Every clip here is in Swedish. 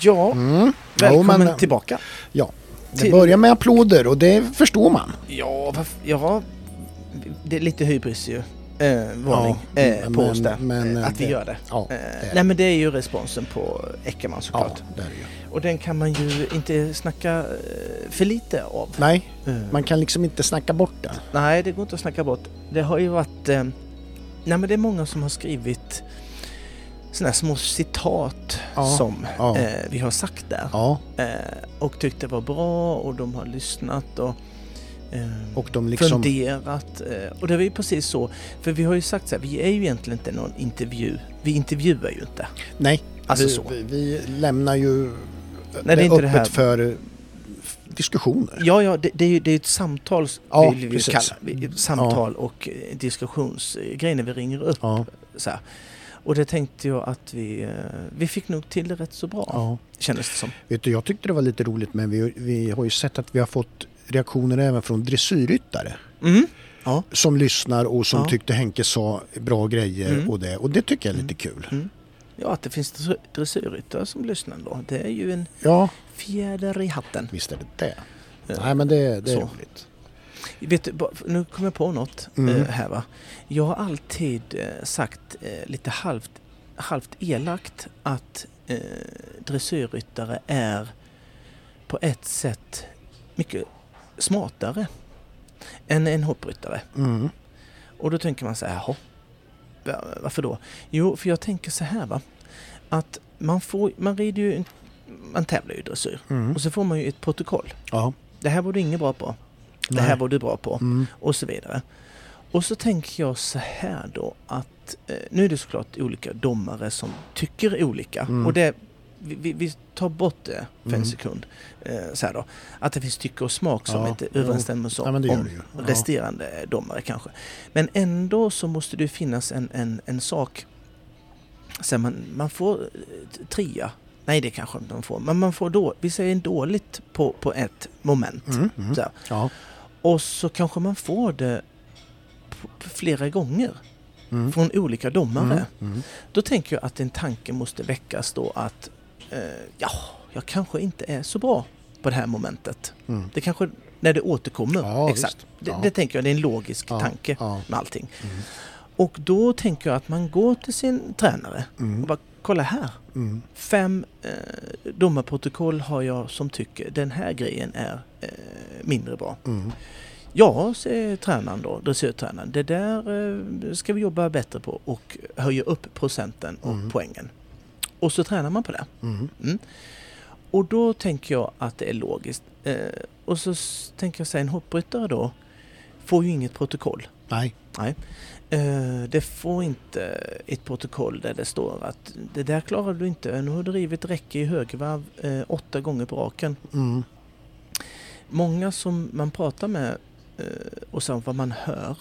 Ja, Mm. Jo, välkommen men, tillbaka. ja. Det till- börjar med applåder och det förstår man. Ja, varf- ja, det är lite hybris ju. Eh, varning Ja, eh, men- på oss där. men, eh, att vi det- gör det. Ja, Eh, det är- nej men det är ju responsen på Eckermann ja såklart. det är det ju. Och den kan man ju inte snacka eh, för lite av. Nej, Eh, man kan liksom inte snacka bort den. Nej, det går inte att snacka bort. Det har ju varit... Eh, nej men det är många som har skrivit sådana här små citat Ja, som ja. eh, vi har sagt där. Ja, Eh, och tyckt det var bra och de har lyssnat och... eh, och de liksom... funderat. eh, Och det var ju precis så. För vi har ju sagt så här, vi är ju egentligen inte någon intervju. Vi intervjuar ju inte. Nej, Alltså vi, så. Vi, vi lämnar ju det är det inte öppet det här. för eh, f- diskussioner. Ja, ja, det, det är ju det är ett samtal, Ja, vill vi ju precis. kalla vi- samtal och eh, diskussionsgrejer när vi ringer upp. Ja, Så här. Och det tänkte jag att vi, eh, vi fick nog till det rätt så bra, ja. kändes det som. Vet du, jag tyckte det var lite roligt men vi, vi har ju sett att vi har fått reaktioner även från dressyrryttare Mm. som lyssnar och som Ja. tyckte Henke sa bra grejer Mm. och det. Och det tycker jag är lite kul. Ja, att det finns dressy- dressyrryttare som lyssnar då. Det är ju en Ja, fjäder i hatten. visst är det det. Eh, Nej men det, det är Så. roligt. Vet du, ba- nu kom jag på något Mm. eh, här va. Jag har alltid eh, sagt eh, lite halvt, halvt elakt att eh, dressyrryttare är på ett sätt mycket smartare än en hoppryttare. Mm. Och då tänker man så här, jaha, va- varför då? Jo, för jag tänker så här va, att man, får, man rider ju, en- man tävlar ju i dressyr Mm. och så får man ju ett protokoll. Ja. Det här var du inget bra på, det Nej. här var du bra på Mm. och så vidare. Och så tänker jag så här då att eh, nu är det såklart olika domare som tycker olika Mm. och det vi, vi- vi tar bort det för en Mm. sekund. Eh, så här då, att det finns tycke och smak som Ja, inte jo. överensstämmer så, Ja, men det gör om det ju. Ja. resterande domare kanske. Men ändå så måste det finnas en, en, en sak. Så här, man, man får eh, t- tria, nej det kanske inte man får, men man får då, vi säger dåligt på, på ett moment. Mm. Mm. Så här. Ja. Och så kanske man får det p- p- flera gånger Mm. från olika domare. Mm. Mm. Då tänker jag att en tanke måste väckas då att eh, ja, jag kanske inte är så bra på det här momentet. Mm. Det kanske när det återkommer. Ja, Exakt. visst. Det, Ja. det tänker jag, det är en logisk Ja, tanke ja. Mm. med allting. Och då tänker jag att man går till sin tränare och bara kolla här. Mm. Fem eh, domarprotokoll har jag som tycker den här grejen är eh, mindre bra. Mm. Ja, säger tränaren då, dressyrtränaren. Det där eh, ska vi jobba bättre på och höja upp procenten och Mm. poängen. Och så tränar man på det. Mm. Och då tänker jag att det är logiskt. Eh, och så s- tänker jag säga en hoppryttare då får ju inget protokoll. Nej. Eh, det får inte ett protokoll där det står att det där klarar du inte. Nu har du rivit räcke i högvarv eh, åtta gånger på raken. Mm. Många som man pratar med eh, och sen vad man hör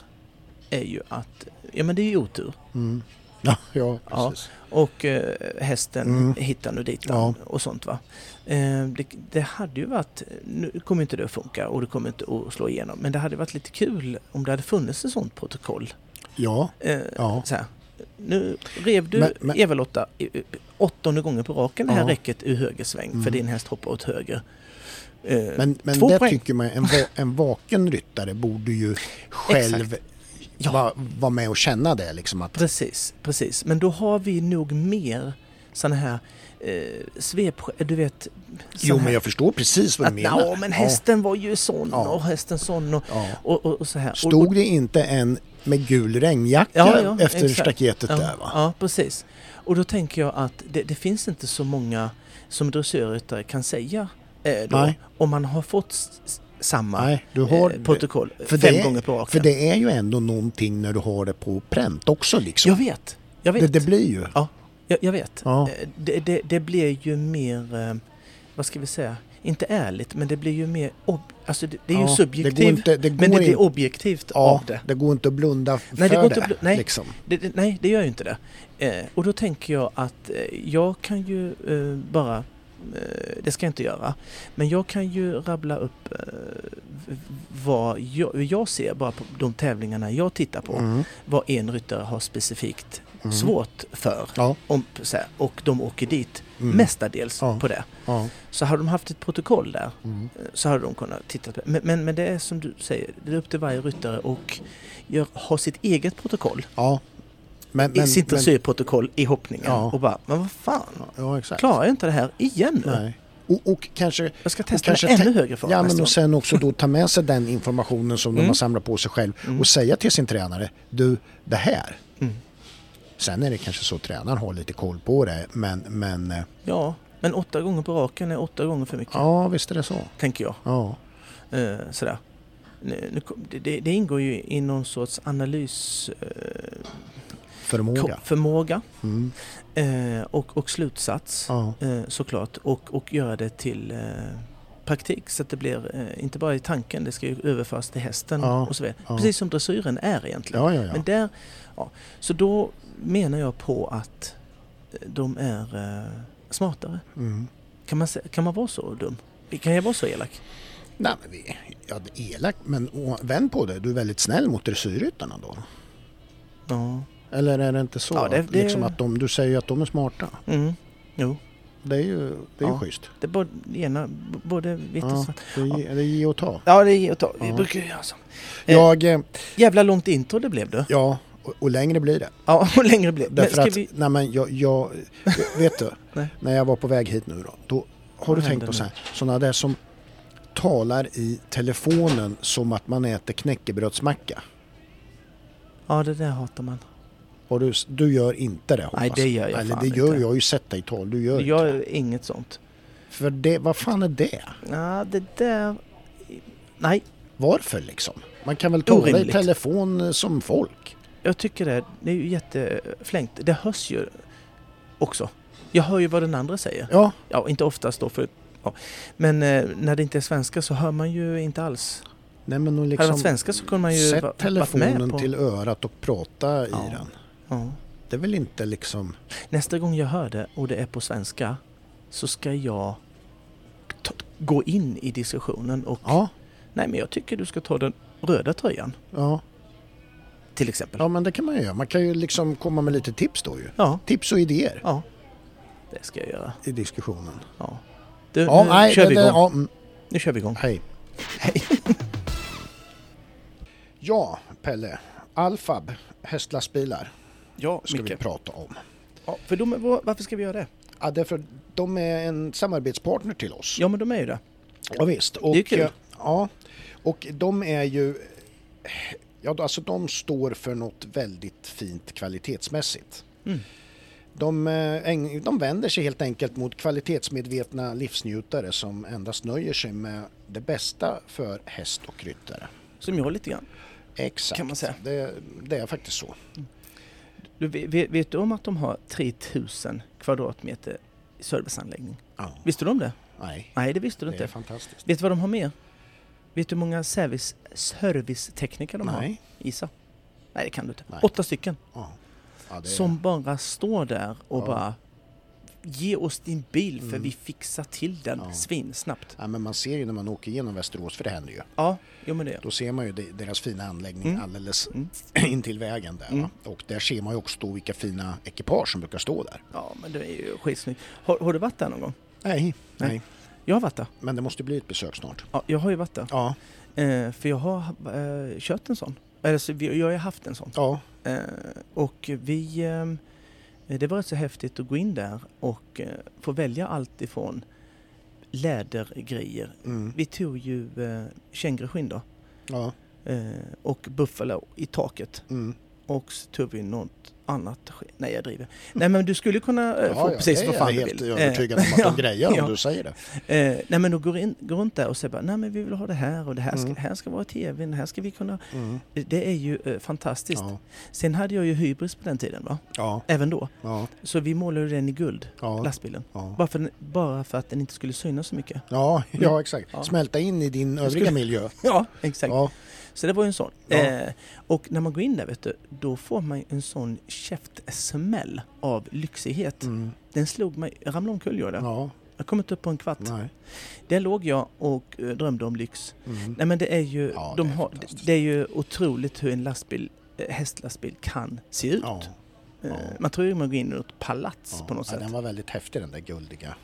är ju att ja, men det är ju otur. Mm. Ja, ja precis. Och eh, hästen Mm. hittar nu dit Ja. och sånt va. Eh, det, det hade ju varit, nu kommer inte det att funka och det kommer inte att slå igenom. Men det hade varit lite kul om det hade funnits ett sånt protokoll. Ja. Eh, Ja. så här, nu rev du Men- men- Eva-Lotta i- i- åttonde gången på raken det här Ja. Mm. räcket ur höger sväng för din häst hoppar åt höger. Eh, Men, men Två det poäng. tycker man, en, va, en vaken ryttare borde ju själv Ja. va- vara med och känna det. Liksom, att, Precis, precis. Men då har vi nog mer sådana här eh, svep... Du vet... jo, sån här- men jag förstår precis vad att, du menar. Ja, men hästen var ju sån Ja. och hästen sån och, Ja. och, och, och så här. Ja. och, Stod det inte en med gul regnjacka Ja, ja, efter exakt. staketet ja, där? Va? Ja, precis. Och då tänker jag att det, det finns inte så många som dressörryttare kan säga eh, då, Nej. om man har fått s- s- samma Nej, du har... eh, protokoll för fem det- gånger på raken. För det är ju ändå någonting när du har det på pränt också. Liksom. jag vet, jag vet. det, det blir ju... Ja, jag, jag vet. Ja. Eh, Det, det, det blir ju mer, eh, vad ska vi säga, inte ärligt, men det blir ju mer, ob- alltså det, det är ju Ja, subjektivt, det går inte- det går men det blir in- objektivt Ja, av det. det. går inte att blunda f- för Nej, det går inte att blu- nej. Liksom. Det, det. Nej, det gör ju inte det. Eh, och då tänker jag att eh, jag kan ju eh, bara, eh, det ska jag inte göra, men jag kan ju rabbla upp eh, v- vad jag, hur jag ser bara på de tävlingarna jag tittar på, Mm. vad en ryttare har specifikt Mm. svårt för. Ja. Om, så här, och de åker dit Mm. mestadels Ja. på det. Ja. Så hade de haft ett protokoll där Mm. eh, så hade de kunnat titta på det. Men, men, men det är som du säger, det är upp till varje ryttare och gör, ha sitt eget protokoll. ja. Men, I sitt dressyrprotokoll i hoppningen Ja. och bara, men vad fan, Ja, exakt. klarar jag inte det här igen nu? Nej. Och, och kanske Jag ska Och testa kanske med ännu tänk- högre fart Ja, nästa men gång. och sen också då ta med sig den informationen som de Mm. har samlat på sig själv Mm. och säga till sin tränare, du det här. Mm. Sen är det kanske så tränaren har lite koll på det, men, men eh, Ja, men åtta gånger på raken är åtta gånger för mycket, ja visst är det så. tänker jag. Ja, Eh, sådär. Nu, nu, kom- det- det, det ingår ju i någon sorts eh, analysförmåga förmåga. förmåga Mm. eh, och, och slutsats Ja. eh, såklart och, och göra det till eh, praktik så att det blir eh, inte bara i tanken, det ska ju överföras till hästen Ja, och så vidare. ja. Precis som dressyren är egentligen. Ja, ja, ja. Men där, ja. Så då menar jag på att de är eh, smartare. Mm. Kan man, sä- kan man vara så dum? Kan jag vara så elak? Nej, men vi, ja, det är elakt, men å- vänd på det. Du är väldigt snäll mot dressyrryttarna då. Ja. Eller är det inte så? Ja, det- att det- Liksom att de, du säger ju att de är smarta. Mm. Jo, Det är ju, det är ju Ja. schysst. det är både, ena, b- både vitt och Ja, svart. det, är, det är ge och ta. Ja, det är ge och ta. Vi Ja. brukar ju göra så. Eh. Jag, eh, Jävla långt intro det blev du. ja, och, och längre blir det. Ja, och längre blev det. Men Därför ska att, vi... nej men jag, jag vet du, Nej. när jag var på väg hit nu då, då har Vad du tänkt händer på nu? så här, sådana där som talar i telefonen som att man äter knäckebrödsmacka. Ja, det där hatar man. Har du, du gör inte det hoppas Nej, det gör jag Eller fan det gör inte. jag har ju sett dig i tal, du gör Jag inte det. gör inget sånt. För det, vad fan är det? Ja, det där... Nej, Varför liksom? Man kan väl tala i Orimligt. telefon eh, som folk? jag tycker det. Det är ju jätteflängt. Det hörs ju också. Jag hör ju vad den andra säger. Ja, Ja, inte oftast då för... Ja. Men eh, när det inte är svenska så hör man ju inte alls. nej men och Hade det liksom varit svenska så kunde man ju va- sätt varit telefonen med på... till örat och prata i Ja. den. Ja. Det är väl inte liksom, Nästa gång jag hör det och det är på svenska så ska jag ta- gå in i diskussionen och... ja, Nej, men jag tycker du ska ta den röda tröjan ja. till exempel. Ja men det kan man ju göra. Man kan ju liksom komma med lite tips då ju. ja. Tips och idéer Ja, det ska jag göra. i diskussionen. Ja. Du, Ja, nu, nej, kör det, vi det, igång. ja, mm, nu kör vi igång. hej. Hej. Ja, Pelle. Alfab, hästlastbilar, Ja, ska vi prata om. Ja, för de, är- var- varför ska vi göra det? Ja, därför de är en samarbetspartner till oss. Ja, men de är ju det. Ja, visst. Och, Det är kul. eh, Ja, och de är ju... Ja, alltså de står för något väldigt fint kvalitetsmässigt. Mm. De, eh, äng- de vänder sig helt enkelt mot kvalitetsmedvetna livsnjutare som endast nöjer sig med det bästa för häst och ryttare. Som jag lite grann. Exakt, Kan man säga. Det, det är faktiskt så. Du, ve- ve- vet du om att de har 3000 kvadratmeter serviceanläggning? Ja. Visste du om det? Nej, Nej, det visste du det inte. är fantastiskt. Vet du vad de har mer? Vet du hur många service, servicetekniker de har? Nej. Gissa. Nej, det kan du inte. Nej. Åtta stycken. Ja. Ja, det är, Som bara står där och Ja. bara Ge oss din bil för Mm. vi fixar till den Ja. svinsnabbt. ja, men man ser ju när man åker igenom Västerås, för det händer ju. Ja, jo men det gör Då ser man ju de- deras fina anläggning Mm. alldeles Mm. intill vägen där. Mm. Va? Och där ser man ju också då vilka fina ekipage som brukar stå där. Ja, men det är ju skitsnyggt. Har, har du varit där någon gång? Nej, nej. Nej. Jag har varit där. Men det måste bli ett besök snart. Ja, jag har ju varit där. Ja, Eh, för jag har eh, kört en sån. Eller så vi, jag har ju haft en sån. ja, Eh, och vi... ehm, det var rätt så häftigt att gå in där och eh, få välja allt ifrån lädergrejer. mm. Vi tog ju eh, känguruskinn då. ja, Eh, och buffalo i taket. mm. Och så tog vi något annat skinn. Nej, jag driver. Nej, men du skulle kunna eh, ja, få ja, precis det vad är fan jag du helt vill. Eh, övertygad om att de ja, grejer om ja. du säger det. Eh, nej men då går, in, går runt där och säger bara, nej men vi vill ha det här och det här ska, Mm. här ska vara tvn, här ska vi kunna... Mm. Det är ju eh, fantastiskt. Ja, Sen hade jag ju hybris på den tiden va? ja, Även då. ja, Så vi målade den i guld, ja, lastbilen. ja. Bara för, den- bara för att den inte skulle synas så mycket. Ja, ja, exakt. Mm. Ja. Smälta in i din övriga skulle- miljö. Ja, exakt. Ja, Så det var ju en sån. Ja. Eh, och när man går in där vet du, då får man ju en sån käftsmäll av lyxighet. mm. Den slog mig, jag ramlade omkull gjorde jag. ja, Jag kom inte upp på en kvart. nej. Där låg jag och eh, drömde om lyx. Mm. Nej men det är ju, Ja, de det är har, fantastiskt. det är ju otroligt hur en lastbil, eh, hästlastbil kan se ut. Ja, Eh, Ja. Man tror ju man går in i något palats Ja, på något ja, sätt. Den var väldigt häftig den där guldiga.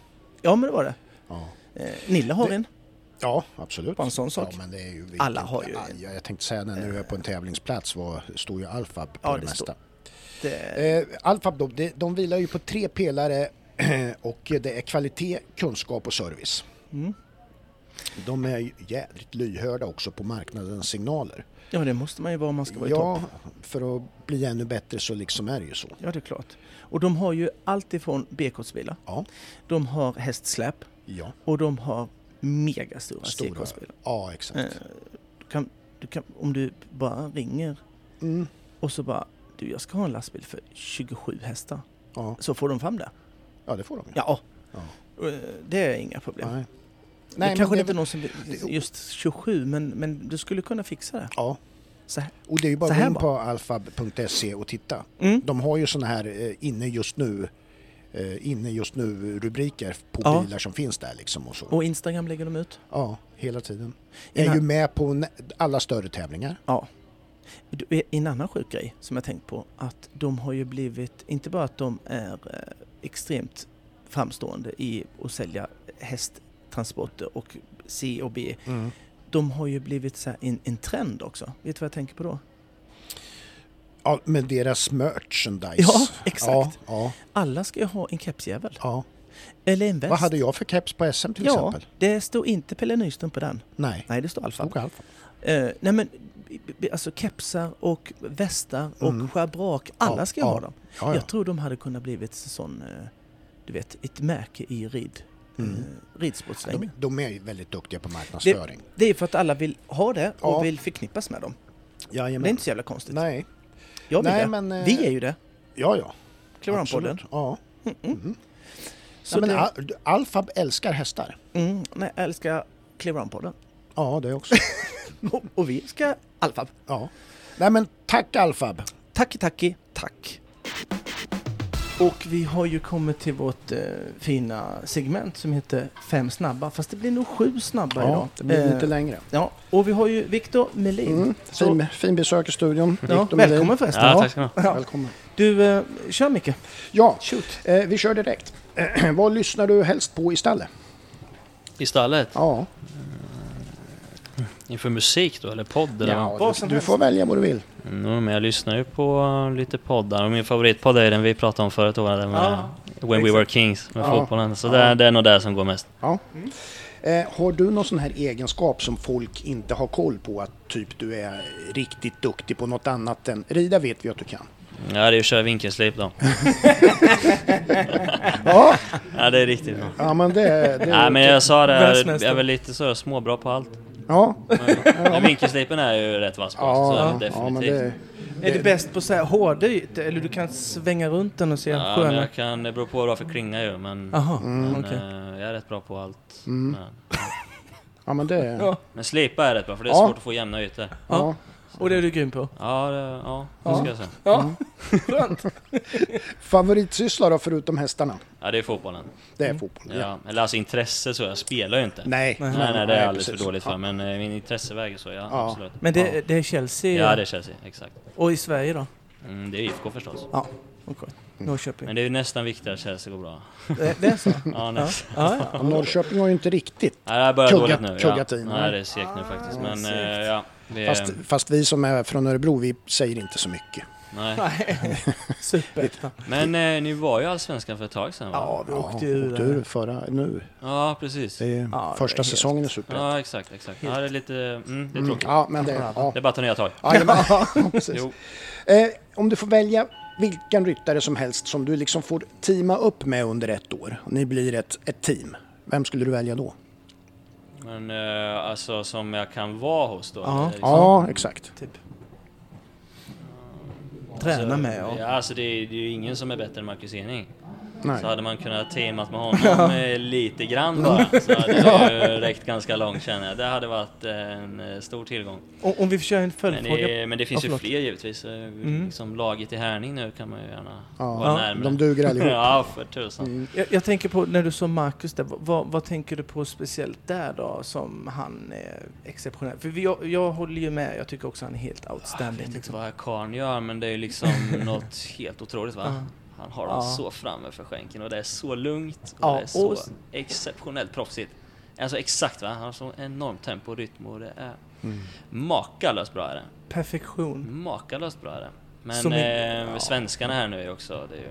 Ja, men det var det. Ja, Eh, Nilla har Det- en, ja absolut. bara en sån sak. Ja, men det är ju vilket- Alla har ju Ja, en. jag tänkte säga när nu är på en tävlingsplats var, stod ju Alfab på Ja, det, det mesta. Det, Eh, Alfab då, de, de vilar ju på tre pelare och det är kvalitet, kunskap och service. mm. De är ju jädrigt lyhörda också på marknadens signaler. Ja, det måste man ju vara om man ska vara i topp. Ja, för att bli ännu bättre så liksom är det ju så. Ja, det är klart. Och de har ju allt ifrån B-kortsbilar, Ja, de har hästsläp ja, och de har megastora Stora. C-kortsbilar. ja exakt. Eh, du kan, du kan, om du bara ringer Mm, och så bara du, jag ska ha en lastbil för 27 hästar. ja. Så får de fram det. ja, det får de ju. Ja, Ja. eh, det är inga problem. Nej. Nej, det men kanske det det är inte är väl- någon som just 27, men, men du skulle kunna fixa det. Ja, Så här. och det är ju bara Så att gå här in bara. på alfab.se och titta. Mm. De har ju sådana här eh, inne just nu eh, inne just nu rubriker på Ja. bilar som finns där liksom och så. Och Instagram lägger de ut. Ja, hela tiden. En Är ju an- med på nä- alla större tävlingar. Ja. Du, eh, En annan sjuk grej som jag tänkt på, att de har ju blivit, inte bara att de är eh, extremt framstående i att sälja hästtransporter och C och B. De har ju blivit så här en, en trend också. Vet du vad jag tänker på då? Ja, men deras merchandise. Ja, exakt. Ja, Alla ska ju ha en kepsjävel. ja, Eller en väst. Vad hade jag för keps på SM till ja, exempel? det står inte Pelle Nyström på den. Nej, Nej, det står Alfa. stod Alfa. Eh, nej men, b- b- alltså kepsar och västar och Mm. schabrak, alla Ja, ska ju ja, ha dem. Ja, ja. Jag tror de hade kunnat blivit en sån, eh, du vet, ett märke i rid, Mm. eh, De, ridsportslängen. de är ju väldigt duktiga på marknadsföring. Det är för att alla vill ha det och Ja. vill förknippas med dem. Jajamän. Det är inte så jävla konstigt. Nej, Jag vill Nej, det. men, eh, Vi är ju det, ja ja. Kloranpodden. Absolut. Ja. Mhm. Mm, Så Nej, men det- Al- Alfab älskar hästar. Mm, nej, jag älskar Clearown-podden. Ja, det också. Och, och vi ska Alfab. ja. Nej men tack Alfab. Tacki, tacki, tack. Och vi har ju kommit till vårt eh, fina segment som heter Fem snabba, fast det blir nog sju snabba idag. det blir Eh, lite längre. Mm. Ja, och vi har ju Viktor Melin. Så- Fin, fin besök i studion. ja, Victor Melin. välkommen förresten. Ja, tack ska ni ha. Ja. Välkommen. Du, eh, kör Micke. Ja, Shoot. eh, vi kör direkt. Vad lyssnar du helst på istället? I stallet? Ja, Inför musik då, eller podd? Eller? ja vad? Vad du, som du helst. får välja vad du vill. Mm, men jag lyssnar ju på eh, lite poddar och min favoritpodd är den vi pratade om förut året, den med Ja, When exakt. We Were Kings med Ja, fotbollen. Så ja. det, det är nog det som går mest. Ja. Eh, har du någon sån här egenskap som folk inte har koll på? Att typ du är riktigt duktig på något annat än... Rida vet vi att du kan. Ja, det är ju att köra vinkelslip då. Ja, Ja, det är riktigt bra. ja men det... det Nej men jag sa det, jag Världsmästare. är väl lite så småbra på allt. ja, Men Vinkelslipen är ju rätt vass på, så är ja, det ja, men definitivt. det... Är du bäst på så här hårda ytor? Eller du kan svänga runt den och se Ja, men sköna? jag kan, det beror på vad det var för klinga ju men, Jaha, Mm. men okej. eh, jag är rätt bra på allt. Men, Ja, men det... Ja. Ja. men slipa är rätt bra för det är Ja. svårt att få jämna ytor. Ja. Och det är du grym på? Ja, det, ja, det ska jag säga. Ja, Mm. skönt. Favoritsyssla då, förutom hästarna? Ja, det är fotbollen. Det är fotboll. Mm. Ja. Eller alltså intresse så, jag spelar ju inte. Nej, Nej, Nej, nej, det är alldeles precis. för dåligt för. Ja. Men eh, min intresseväg är så, ja, Ja. absolut. Men det, det är Chelsea Ja, det är Chelsea, exakt. och i Sverige då? Mm, det är IFK förstås. Ja, okej. Mm. Norrköping. Men det är ju nästan viktigare att Chelsea går bra. Det, det är så? Ja, Ja, nästan. ja, ja. Ja, Norrköping har ju inte riktigt... Nej, det här börjar Kugga- dåligt nu. kuggat ja. in, ja. Nej, det är segt nu faktiskt. Men segt. eh, ja, det är, Fast, fast vi som är från Örebro, vi säger inte så mycket. nej. Nej, superettan. Men eh, ni var ju Allsvenskan för ett tag sedan va? Ja, vi åkte ju ja, ur åkte det här. ur förra, nu. Ja, precis. Det är Ja, det första är helt- säsongen i Superettan. Ja, exakt, exakt. Ja, det är lite, mm, det är Mm, tråkigt. ja, men det... Ja. Det är bara att ta nya tag. Ja, ja, precis. Jo. Eh, om du får välja vilken ryttare som helst som du liksom får teama upp med under ett år, och ni blir ett, ett team, vem skulle du välja då? Men eh, alltså som jag kan vara hos då. Ja. eller liksom- Ja, exakt. Typ. Träna med ja. och... alltså, ja alltså det är, det är ju ingen som är bättre än Marcus Ening. Nej. så hade man kunnat teamat med honom eh, lite grann bara. Så hade det ju räckt ganska långt känner jag. Det hade varit eh, en eh, stor tillgång. Om, om vi försöker en Men följdfråga. det, men det finns Ja, ju förlåt. fler givetvis. Eh, Liksom laget i Härning nu kan man ju gärna Mm. Ja, vara Ja, närmare. de duger allihop. Mm. ja, för tusan. Jag, jag tänker på när du sa Marcus där, vad- vad, vad tänker du på speciellt där då som han är exceptionell? För jag, jag håller ju med, jag tycker också han är helt Jag outstanding. vet inte Liksom. vad karln gör men det är ju liksom något helt otroligt va? Ja. Han har dem Ja. så framme för skänken och det är så lugnt och Ja, det är så och- exceptionellt proffsigt. Alltså exakt va, han har så enormt tempo och rytm och det är Mm. makalöst bra är det. Perfektion. Mm. Makalöst bra är det. Men Som i- eh, ja. svenskarna här nu är ju också, det är ju...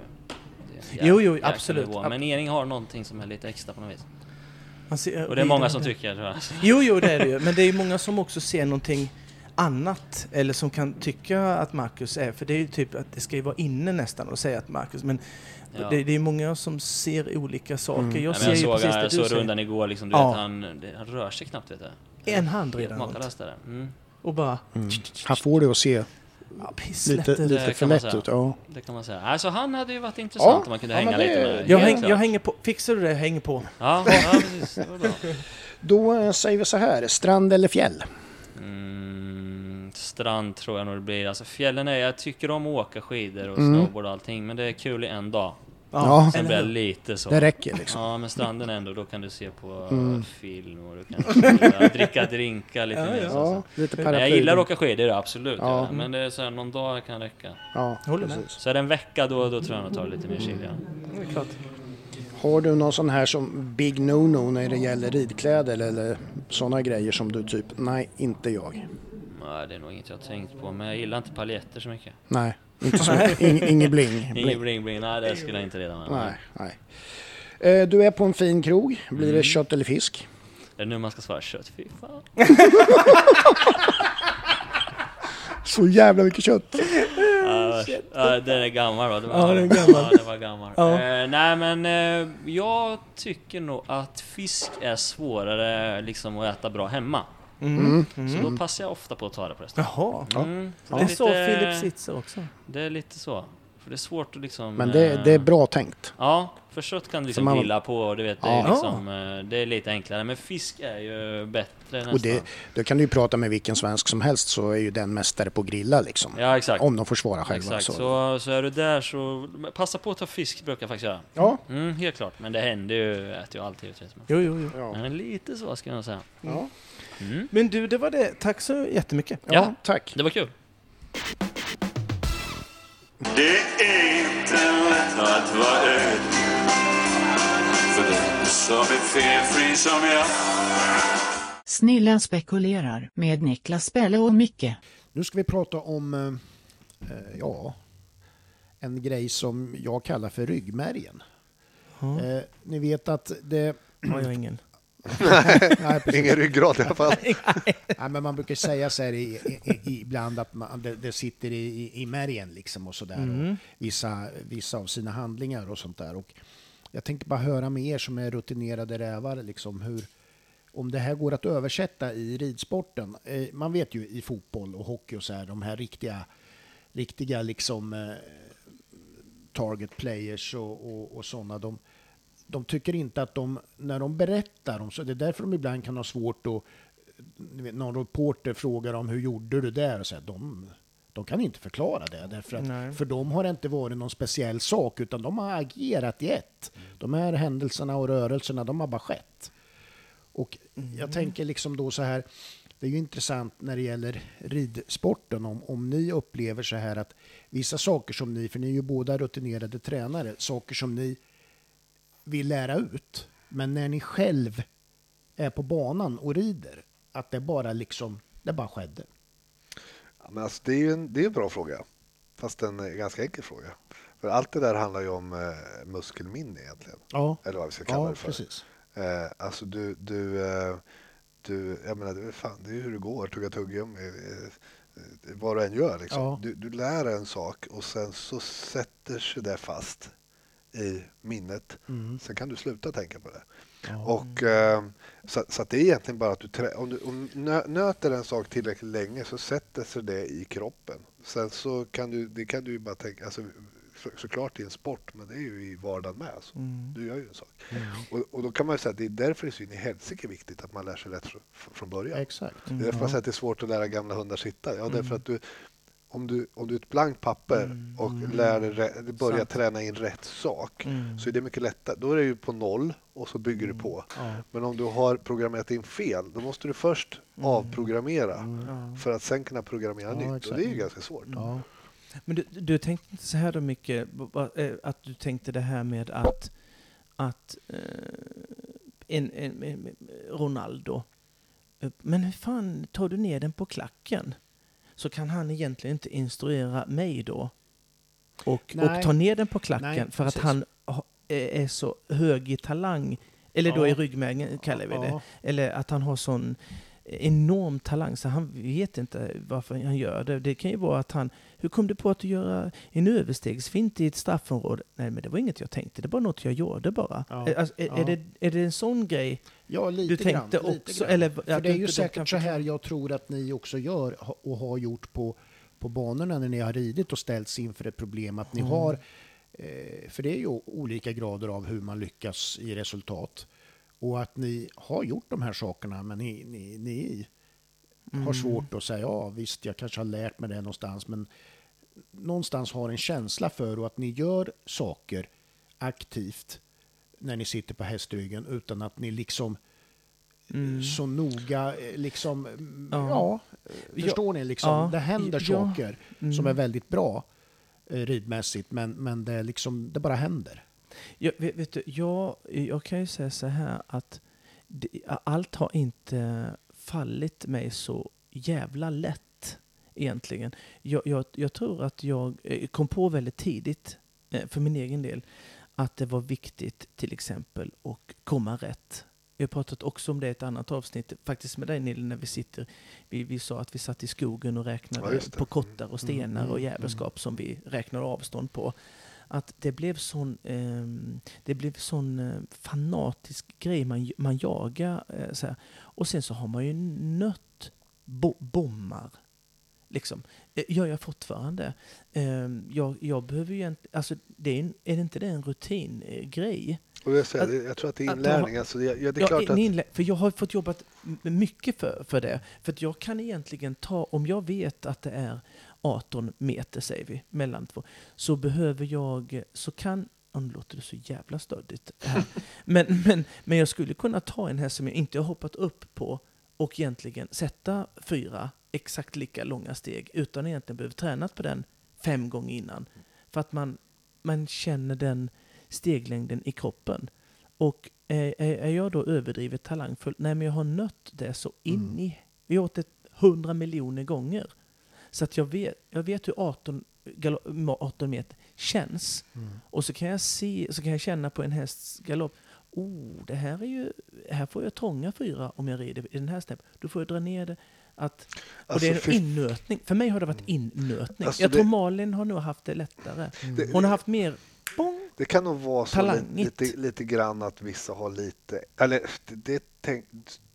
det är en Jo, jäk- jo, jäkla absolut. nivå. Men Ering har någonting som är lite extra på något vis. Man ser- Och det är många som tycker tror jag. alltså. Jo, jo, det är det ju. Men det är ju många som också ser någonting annat eller som kan tycka att Marcus är, för det är ju typ att det ska ju vara inne nästan och säga att Marcus, men Ja. det, det är många som ser olika saker. Mm. Jag Jag, ser jag ju såg, precis det jag du såg säger. rundan igår liksom, du Ja. vet han, det- han rör sig knappt vet du. En hand Helt redan makalöst är det. Mm. och bara Mm. Han får det att se ja, lite, pisslätten. lite kan för man lätt säga. ut. Ja. Det kan man säga. Alltså han hade ju varit intressant Ja, om man kunde ja, hänga men lite det- med. Jag, Helt häng, klart. jag hänger på, fixar du det, jag hänger på. Ja, ja precis. Det var bra. Då eh, säger vi så här, strand eller fjäll? Mm, strand tror jag nog det blir. Alltså fjällen är, jag tycker om att åka skidor och Mm. snowboard och allting. Men det är kul i en dag. Ja, Sen eller blir jag hur? lite så. Det räcker liksom. Ja, men stranden ändå, då kan du se på Mm. film och du kan chilla, dricka drinkar lite Ja, mer. ja. Så, så. Ja, lite Men Men paraply. jag gillar att åka skidor, absolut. Ja. Ja. Men det är så här, någon dag kan räcka. Ja, Håller med. precis. Så är det en vecka då, då tror jag nog tar lite mer chill. Ja. Det är klart. Har du någon sån här som big no-no när det gäller ridkläder eller sådana grejer som du typ, nej inte jag. Nej, det är nog inget jag har tänkt på. Men jag gillar inte paljetter så mycket. Nej, inte så. In, ingen bling. Ingen bling. bling bling, nej det skulle jag inte redan med. Nej, nej. Eh, Du är på en fin krog. Blir Mm. det kött eller fisk? Är det nu man ska svara kött? Fy fan. Så jävla mycket kött. Ja, Äh, ja, den är gammal va? Det var- Ja, den är gammal. Ja, den var gammal. Ja. Eh, nej men eh, jag tycker nog att fisk är svårare liksom att äta bra hemma. Mm. Så då passar jag ofta på att ta det på restaurang. Jaha. Mm. Det är så Philip Sitzer också. Det är lite så. För det är svårt att liksom... Men det, det är eh, bra tänkt. Ja, för kött kan du liksom För man- grilla på och du vet, det Ja. är, liksom, eh, det är lite enklare. Men fisk är ju bättre nästan. Och det, då kan du ju prata med vilken svensk som helst så är ju den mästare på att grilla liksom. Ja, exakt. Om de får svara själva. Exakt, Så. så, så är du där så men passa på att ta fisk brukar jag faktiskt göra. Ja. Mm, helt klart. Men det händer ju, jag äter ju alltid givetvis. men- Jo, jo, jo. Ja. Men lite så ska jag nog säga. Ja. Mm. Men du, det var det. Tack så jättemycket. ja, Ja. tack. Det var kul. Det är inte lätt att vara öd För den som är felfri som jag Snillen spekulerar med Niklas Pelle och Micke. Nu ska vi prata om, eh, eh, ja, en grej som jag kallar för ryggmärgen. Eh, ni vet att det... Har jag ingen. Nej, precis. Ingen ryggrad i alla fall. Nej, men man brukar säga så här i, i, i, ibland att man, det, det sitter i, i, i märgen liksom och sådär. Och vissa, vissa av sina handlingar och sånt där. Och jag tänkte bara höra med er som är rutinerade rävar, liksom hur, om det här går att översätta i ridsporten. Eh, man vet ju i fotboll och hockey och så här, de här riktiga, riktiga liksom eh, target players och, och, och sådana, de, de tycker inte att de, när de berättar om så, det är därför de ibland kan ha svårt att ni vet, någon reporter frågar om hur gjorde du där? Och så här, de, de kan inte förklara det, därför Nej. att, för de har det inte varit någon speciell sak, utan de har agerat i ett. De här händelserna och rörelserna, de har bara skett. Och Mm. jag tänker liksom då så här, det är ju intressant när det gäller ridsporten, om, om ni upplever så här att vissa saker som ni, för ni är ju båda rutinerade tränare, saker som ni vill lära ut, men när ni själv är på banan och rider, att det bara liksom, det bara skedde. Ja, Men alltså, det är ju en, det är en bra fråga, fast en eh, ganska enkel fråga. För allt det där handlar ju om eh, muskelminne egentligen, Ja, eller vad vi ska kalla ja det för. precis. Eh, alltså du, du, eh, du, jag menar, det är, fan, det är ju hur det går, tugga tuggum, eh, eh, vad du än gör. Liksom. Ja. Du, du lär dig en sak och sen så sätter sig det fast i minnet. Mm. Sen kan du sluta tänka på det. Och, eh, så så att det är egentligen bara att du, trä- om du om nö- nöter en sak tillräckligt länge så sätter sig det i kroppen. Sen så kan du, det kan du ju bara tänka, alltså, så, såklart i en sport, men det är ju i vardagen med. Alltså. Mm. Du gör ju en sak. Och, och då kan man ju säga att det är därför det är så in i helsike viktigt att man lär sig rätt fr- från början. Mm, Exakt. Det är därför man säger att det är svårt att lära gamla hundar sitta. Ja, därför att du, om du, om du är ett blankt papper och lär dig, rä- börjar Mm. Sant. träna in rätt sak Mm. så är det mycket lättare. Då är det ju på noll och så bygger du på. Men om du har programmerat in fel, då måste du först avprogrammera Mm. för att sen kunna programmera Ja, nytt. Och exakt. det är ju ganska svårt. Ja. Men du, du tänkte inte så här då mycket, eh, att du tänkte det här med att, att eh, en, en, en, Ronaldo, eh, men hur fan tar du ner den på klacken? Så kan han egentligen inte instruera mig då och, och Nej. ta ner den på klacken Nej, för att precis. han ha- eh, är är så hög i talang, eller då Ja. i ryggmärgen kallar vi det. Ja. Eller att han har sån enorm talang så han vet inte varför han gör det. Det kan ju vara att han, hur kom du på att göra en överstegsfint i ett straffområde? Nej men det var inget jag tänkte, det var något jag gjorde bara. Ja. Är- Alltså, är, är, Ja. det, är det en sån grej Ja, lite du tänkte grann, lite också? grann. Eller, För att det du är ju inte kan säkert så förklara- här jag tror att ni också gör ha- och har gjort på, på banorna när ni har ridit och ställts inför ett problem att ni Mm. har, eh, för det är ju olika grader av hur man lyckas i resultat. Och att ni har gjort de här sakerna men ni, ni, ni har Mm. svårt att säga ja visst jag kanske har lärt mig det någonstans men någonstans har en känsla för och att ni gör saker aktivt när ni sitter på hästryggen utan att ni liksom Mm. så noga eh, liksom, mm, ja, eh, förstår ni liksom, ja, det händer ja, saker som är Mm. väldigt bra eh, ridmässigt men, men det, är liksom, det bara händer. Jag, vet, vet du, jag, jag kan ju säga så här att det, allt har inte fallit mig så jävla lätt egentligen. Jag, jag, jag tror att jag eh, kom på väldigt tidigt, eh, för min egen del, att det var viktigt till exempel att komma rätt. Jag har pratat också om det i ett annat avsnitt, faktiskt med dig Nille, när vi sitter. Vi, vi sa att vi satt i skogen och Ja, räknade just det. Mm. på kottar och stenar och jävelskap som vi räknade avstånd på att det blev sån, ehm, det blev sån eh, fanatisk grej, man, man jagar eh, så här. Och sen så har man ju nött bo, bommar. Liksom. Eh, gör jag fortfarande. Ehm, jag, jag behöver ju egent- alltså, det är, en, är det inte det en rutingrej? Eh, grej? Och jag, säger, det- jag tror att det är Att- inlärning. Alltså, det, ja, det är Ja, klart en att, inlä- för jag har fått jobbat m- mycket för, för det. För att jag kan egentligen ta, om jag vet att det är 18 meter säger vi, mellan två, så behöver jag, så kan, ja, nu låter det så jävla stöddigt här. men, men, men jag skulle kunna ta en häst som jag inte har hoppat upp på och egentligen sätta fyra exakt lika långa steg utan egentligen behöva tränat på den fem gånger innan. För att man, man känner den steglängden i kroppen. Och eh, är, är är jag då överdrivet talangfull? Nej, men jag har nött det så Mm. in i... Vi har åt det hundra miljoner gånger. Så att jag vet, jag vet hur 18, galo- ma- 18 meter känns. Mm. Och så kan, jag se, så kan jag känna på en hästs galopp. Oh, det här är ju... Här får jag trånga fyra om jag rider i den här snäppen. Då får jag dra ner det. Att, och Alltså, det är en fy- innötning. För mig har det varit innötning. Alltså, jag tror det- Malin har nog haft det lättare. Det- Hon har haft mer... Bong, Det kan nog vara så li- Talangigt. lite, lite grann att vissa har lite, eller det, det, tänk,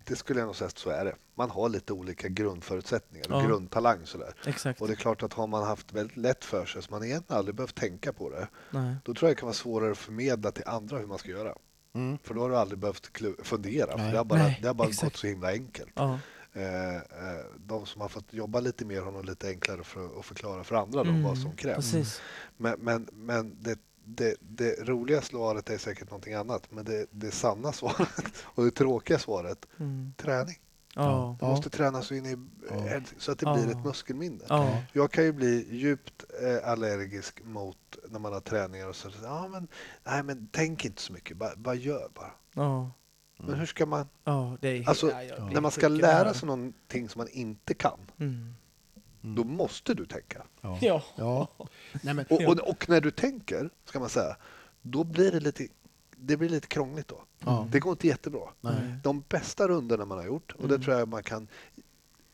det skulle jag nog säga att så är det. Man har lite olika grundförutsättningar och Ja. grundtalang sådär. Exakt. Och det är klart att har man haft väldigt lätt för sig så man egentligen aldrig behövt tänka på det. Nej. Då tror jag det kan vara svårare att förmedla till andra hur man ska göra. För då har du aldrig behövt klu- fundera, för Nej. det har bara, Nej, det har bara exakt. gått så himla enkelt. Ja. Eh, eh, de som har fått jobba lite mer har nog lite enklare för att förklara för andra då, vad som krävs. Mm, Precis. Men, men, men det, det, det roliga svaret är säkert någonting annat. Men det, det sanna svaret och det tråkiga svaret, träning. Mm. Ja. Du måste träna så in i så att det Ja. blir ett muskelminne. Ja. Jag kan ju bli djupt eh, allergisk mot när man har träningar och så. Ja, men, nej, men tänk inte så mycket, bara, bara gör bara. Ja. Men hur ska man, Ja, det är... alltså, Mm. ja, jag blir när man ska sjuk i lära magen. sig någonting som man inte kan, Mm. då måste du tänka. Ja. Ja. Nej, men, Och, och, och när du tänker, ska man säga, då blir det lite, det blir lite krångligt Mm. då. Det går inte jättebra. De bästa rundorna man har gjort, och Mm. det tror jag man kan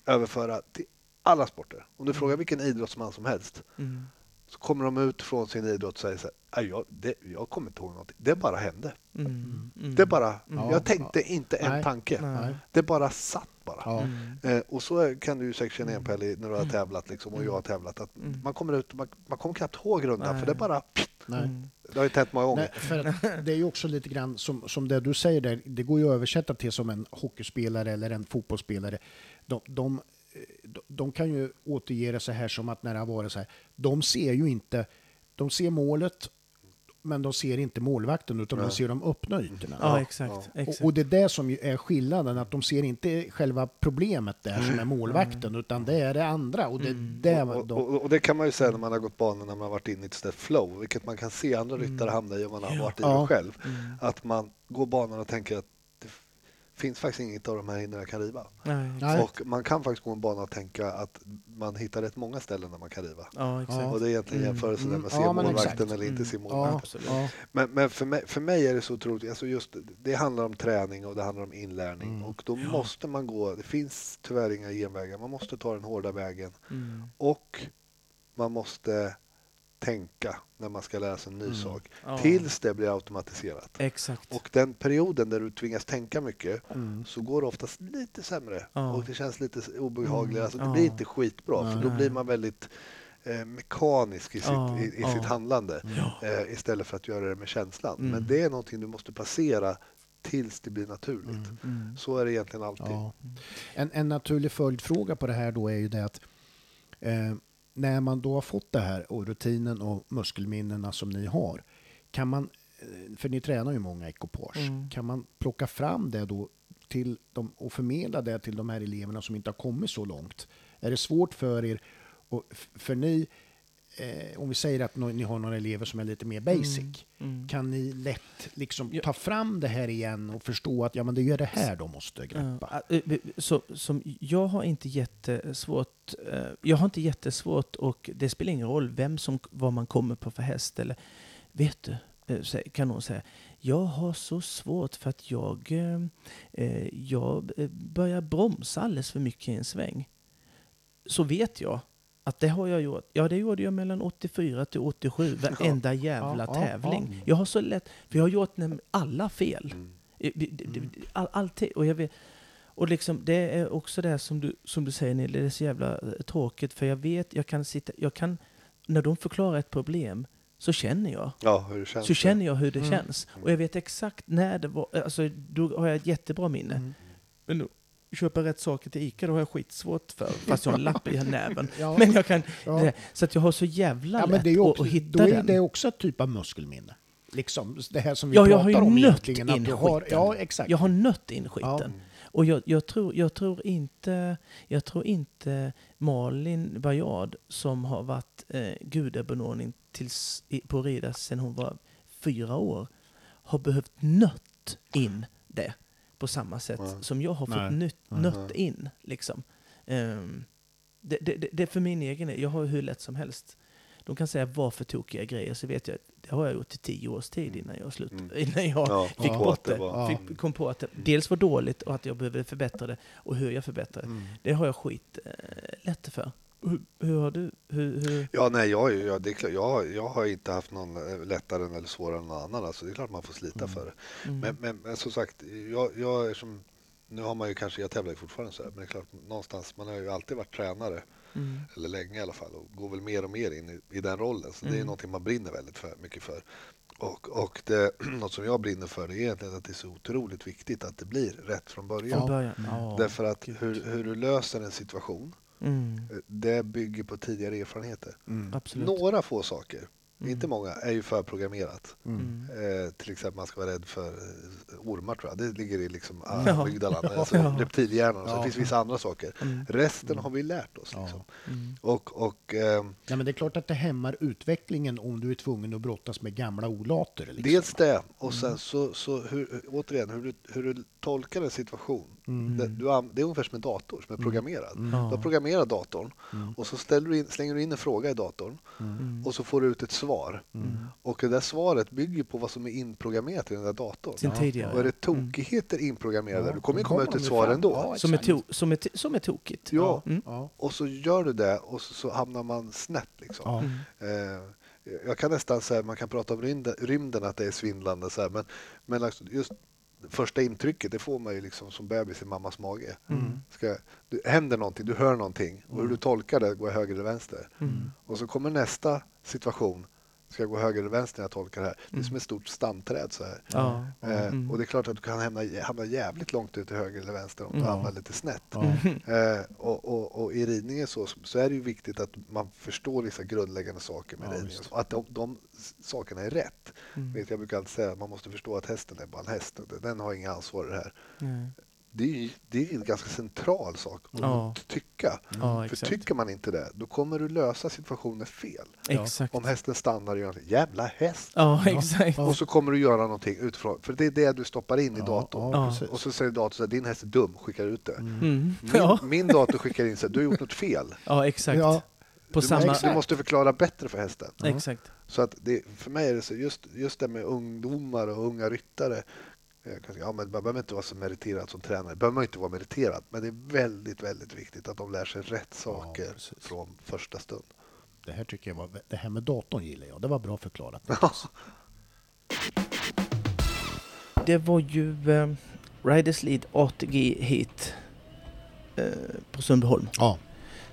överföra till alla sporter. Om du frågar vilken idrottsman som helst, Mm. så Så kommer de ut från sin idrott och säger så här, "Nej, jag, det, jag kommer inte ihåg någonting. Det bara hände. Mm. Mm. Det bara, Mm. Ja. Jag tänkte inte en Nej. tanke. Nej. Det bara satt bara. Ja. Mm. Mm. Eh, och så är- kan du ju säkert känna igen Pelli när du har tävlat liksom, och jag har tävlat. Att Man kommer ut och man, man kommer knappt ihåg rundan för det bara... Nej. Mm. Det har ju inte hänt många Nej, gånger. för att det är ju också lite grann som, som det du säger där, det går ju att översätta till som en hockeyspelare eller en fotbollsspelare. De, de, eh, de- de kan ju återge det så här som att när det har varit så här, de ser ju inte, de ser målet, men de ser inte målvakten utan de ser de öppna ytorna. Ja, exakt. exakt. Och, och det är det som ju är skillnaden, att de ser inte själva problemet där som är målvakten, utan det är det andra. Och det, Mm. det Mm. Och, de, och, och det kan man ju säga när man har gått banan när man har varit inne i ett sånt där flow, vilket man kan se andra ryttare hamna i om man har varit i Mm. Ja. det själv. Mm. Att man går banan och tänker att det f- finns faktiskt inget av de här hindren jag kan riva. Nej. Nej. Och man kan faktiskt gå en bana och tänka att man hittar rätt många ställen där man kan riva. Ja, exakt. Och det är egentligen jämförelsen där Mm. med att se Ja, men målvakten exakt. eller inte se ja, målvakten. ja, Men, men för, mig, för mig är det så otroligt, alltså just, det handlar om träning och det handlar om inlärning Mm. och då måste man gå, det finns tyvärr inga genvägar, man måste ta den hårda vägen Mm. och man måste tänka när man ska lära sig en ny Mm. sak Ja. tills det blir automatiserat. Exakt. Och den perioden där du tvingas tänka mycket Mm. så går det oftast lite sämre Ja. Mm. och det känns lite obehagligare. Alltså, det Ja. blir inte skitbra för då blir man väldigt eh, mekanisk i sitt, Ja. i, i Ja. Mm. sitt handlande eh, istället för att göra det med känslan. Men det är någonting du måste passera tills det blir Mm. Mm. naturligt. Så är det egentligen alltid. Ja. Mm. En, en naturlig följdfråga på det här då är ju det att eh, när man då har fått det här och rutinen och muskelminnena som ni har, kan man, eh, för ni tränar ju många ekopage, kan man plocka fram det då till dem och förmedla det till de här eleverna som inte har kommit så långt? Är det svårt för er, och, f- för ni, eh, om vi säger att nå- ni har några elever som är lite mer basic, Mm. kan ni lätt liksom ta fram det här igen och förstå att ja, men det är det här de måste greppa? Ja, eh, eh, Så, som jag har inte jättesvårt, eh, jag har inte jättesvårt och det spelar ingen roll vem som, vad man kommer på för häst eller, vet du, eh, sä- kan någon säga, jag har så svårt för att jag, eh, eh, jag eh, börjar bromsa alldeles för mycket i en sväng. Så vet jag att det har jag gjort. Ja, det gjorde jag mellan 84 till 87, varenda jävla ja, tävling. Jag har så lätt, för jag har gjort näm- alla fel. Mm. Eh, det- det- det- All, alltid. Och jag vet, och liksom, det är också det här som du, som du säger Nille, det är så jävla eh, tråkigt för jag vet, jag kan sitta, jag kan, när de förklarar ett problem så känner jag. Ja, hur det känns. Så känner jag hur Mm. det känns. Och jag vet exakt när det var, alltså då har jag ett jättebra minne. Mm. Men då, köpa rätt saker till Ica, då har jag skitsvårt för, fast jag har en lapp i näven. Ja. Men jag kan, Ja. det- så att jag har så jävla Ja, lätt men det är ju att- också, att hitta då är den. det också ett typ av muskelminne. Liksom det här som vi Ja, jag har pratar ju om nött egentligen. att in du har, skiten. ja, exakt. Jag har nött in skiten. Ja. Och jag, jag, tror, jag, tror inte, jag tror inte Malin Bajard som har varit eh, gudabenådning tills, i, på Rida sedan hon var fyra år har behövt nött in det på samma sätt som jag har fått Nej. nytt, nött in. Liksom. Ehm, det, det, det- det är för min egen del. Jag har hur lätt som helst. De kan säga vad för tokiga grejer, så vet jag att det har jag gjort i tio års Mm. tid innan jag, slut, innan jag Ja, fick ja. bort Det det. var- Fick, kom på att det dels var dåligt och att jag behöver förbättra det och hur jag förbättrar Mm. det. Det har jag skit eh, lätt för. Hur, hur har du? Hur, hur? Ja, nej, jag, är ju- jag, det är klart, jag, jag har inte haft någon eh, lättare eller svårare än någon annan. Alltså, det är klart man får slita Mm. för det. Men, men, men som sagt, jag, jag är som, nu har man ju kanske, jag tävlar ju fortfarande så här, men det är klart någonstans, man har ju alltid varit tränare, mm. eller länge i alla fall, och går väl mer och mer in i, i den rollen. Så det är någonting man brinner väldigt för, mycket för. Och, och det, något som jag brinner för det är egentligen att det är så otroligt viktigt att det blir rätt från början. Från början? Ja. Därför att hur, hur du löser en situation, Mm, eh, det bygger på tidigare erfarenheter. Mm. absolut. Några få saker, inte många, är ju förprogrammerat. Eh, till exempel man ska vara rädd för eh, ormar tror jag. Det ligger i liksom amygdalan, alltså reptilhjärnan. och Så det finns vissa andra saker. Resten har vi lärt oss. Liksom. Och, och ehm, Nej, men det är klart att det hämmar utvecklingen om du är tvungen att brottas med gamla olater. Liksom. Mm. dels det och sen så, så hur, återigen hur du, hur du tolkar en situation. Mm. Det, du, an- det är ungefär som en dator som är programmerad. Mm. Du har programmerat datorn och så ställer du in, slänger du in en fråga i datorn och så får du ut ett svar. Mm. Och det där svaret bygger på vad som är inprogrammerat i den där datorn. Sen tidigare, Och är ja. det tokigheter inprogrammerade, Mm. Ja, du kommer ju då komma kommer ut ett de ju svar fram. ändå. Ja, Som är, exakt. to, som, är, t- som är tokigt. Ja, Mm. Ja. och så gör du det och så, så hamnar man snett. Liksom. Ja. Eh, jag kan nästan säga, man kan prata om rymden, rymden att det är svindlande, så här, men, men alltså just första intrycket det får man ju liksom som bebis i mammas mage. Ska, du, händer någonting, du hör någonting och hur du tolkar det går jag höger eller vänster. Och så kommer nästa situation, ska jag gå höger eller vänster när jag tolkar det här? Det är som ett stort stamträd så här. Ja. Mm. Eh, Och det är klart att du kan hamna, hamna jävligt långt ut till höger eller vänster om du hamnar lite snett. Eh, och, och, och i ridningen så, så är det ju viktigt att man förstår vissa grundläggande saker med ridningen. Och att de, de s- sakerna är rätt. Mm. Vet, jag brukar alltid säga att man måste förstå att hästen är bara en häst. och Den har inga ansvar i det här. Mm. Nej. Det är ju det är ju en ganska central sak att Ja. tycka. Ja, För exakt. tycker man inte det, då kommer du lösa situationen fel. Exakt. Om hästen stannar och gör någonting, jävla häst! Ja, exakt. Och så kommer du göra någonting utifrån, för det är det du stoppar in i datorn. Ja, Ja. precis. Och så säger datorn så här, din häst är dum, skickar ut det. Mm. Min, Ja. min dator skickar in så här, du har gjort något fel. ja, exakt. Ja. På du, samma... måste, du måste förklara bättre för hästen. Exakt. Så att det, för mig är det så, just, just det med ungdomar och unga ryttare. jag kan säga, Ja, men man behöver inte vara så meriterad som tränare, behöver man inte vara meriterad. Men det är väldigt, väldigt viktigt att de lär sig rätt saker från första stund. Det här tycker jag var, det här med datorn gillar jag. Det var bra förklarat. Det var ju eh, Riders Lead ATG hit eh, på Sundbyholm Ja.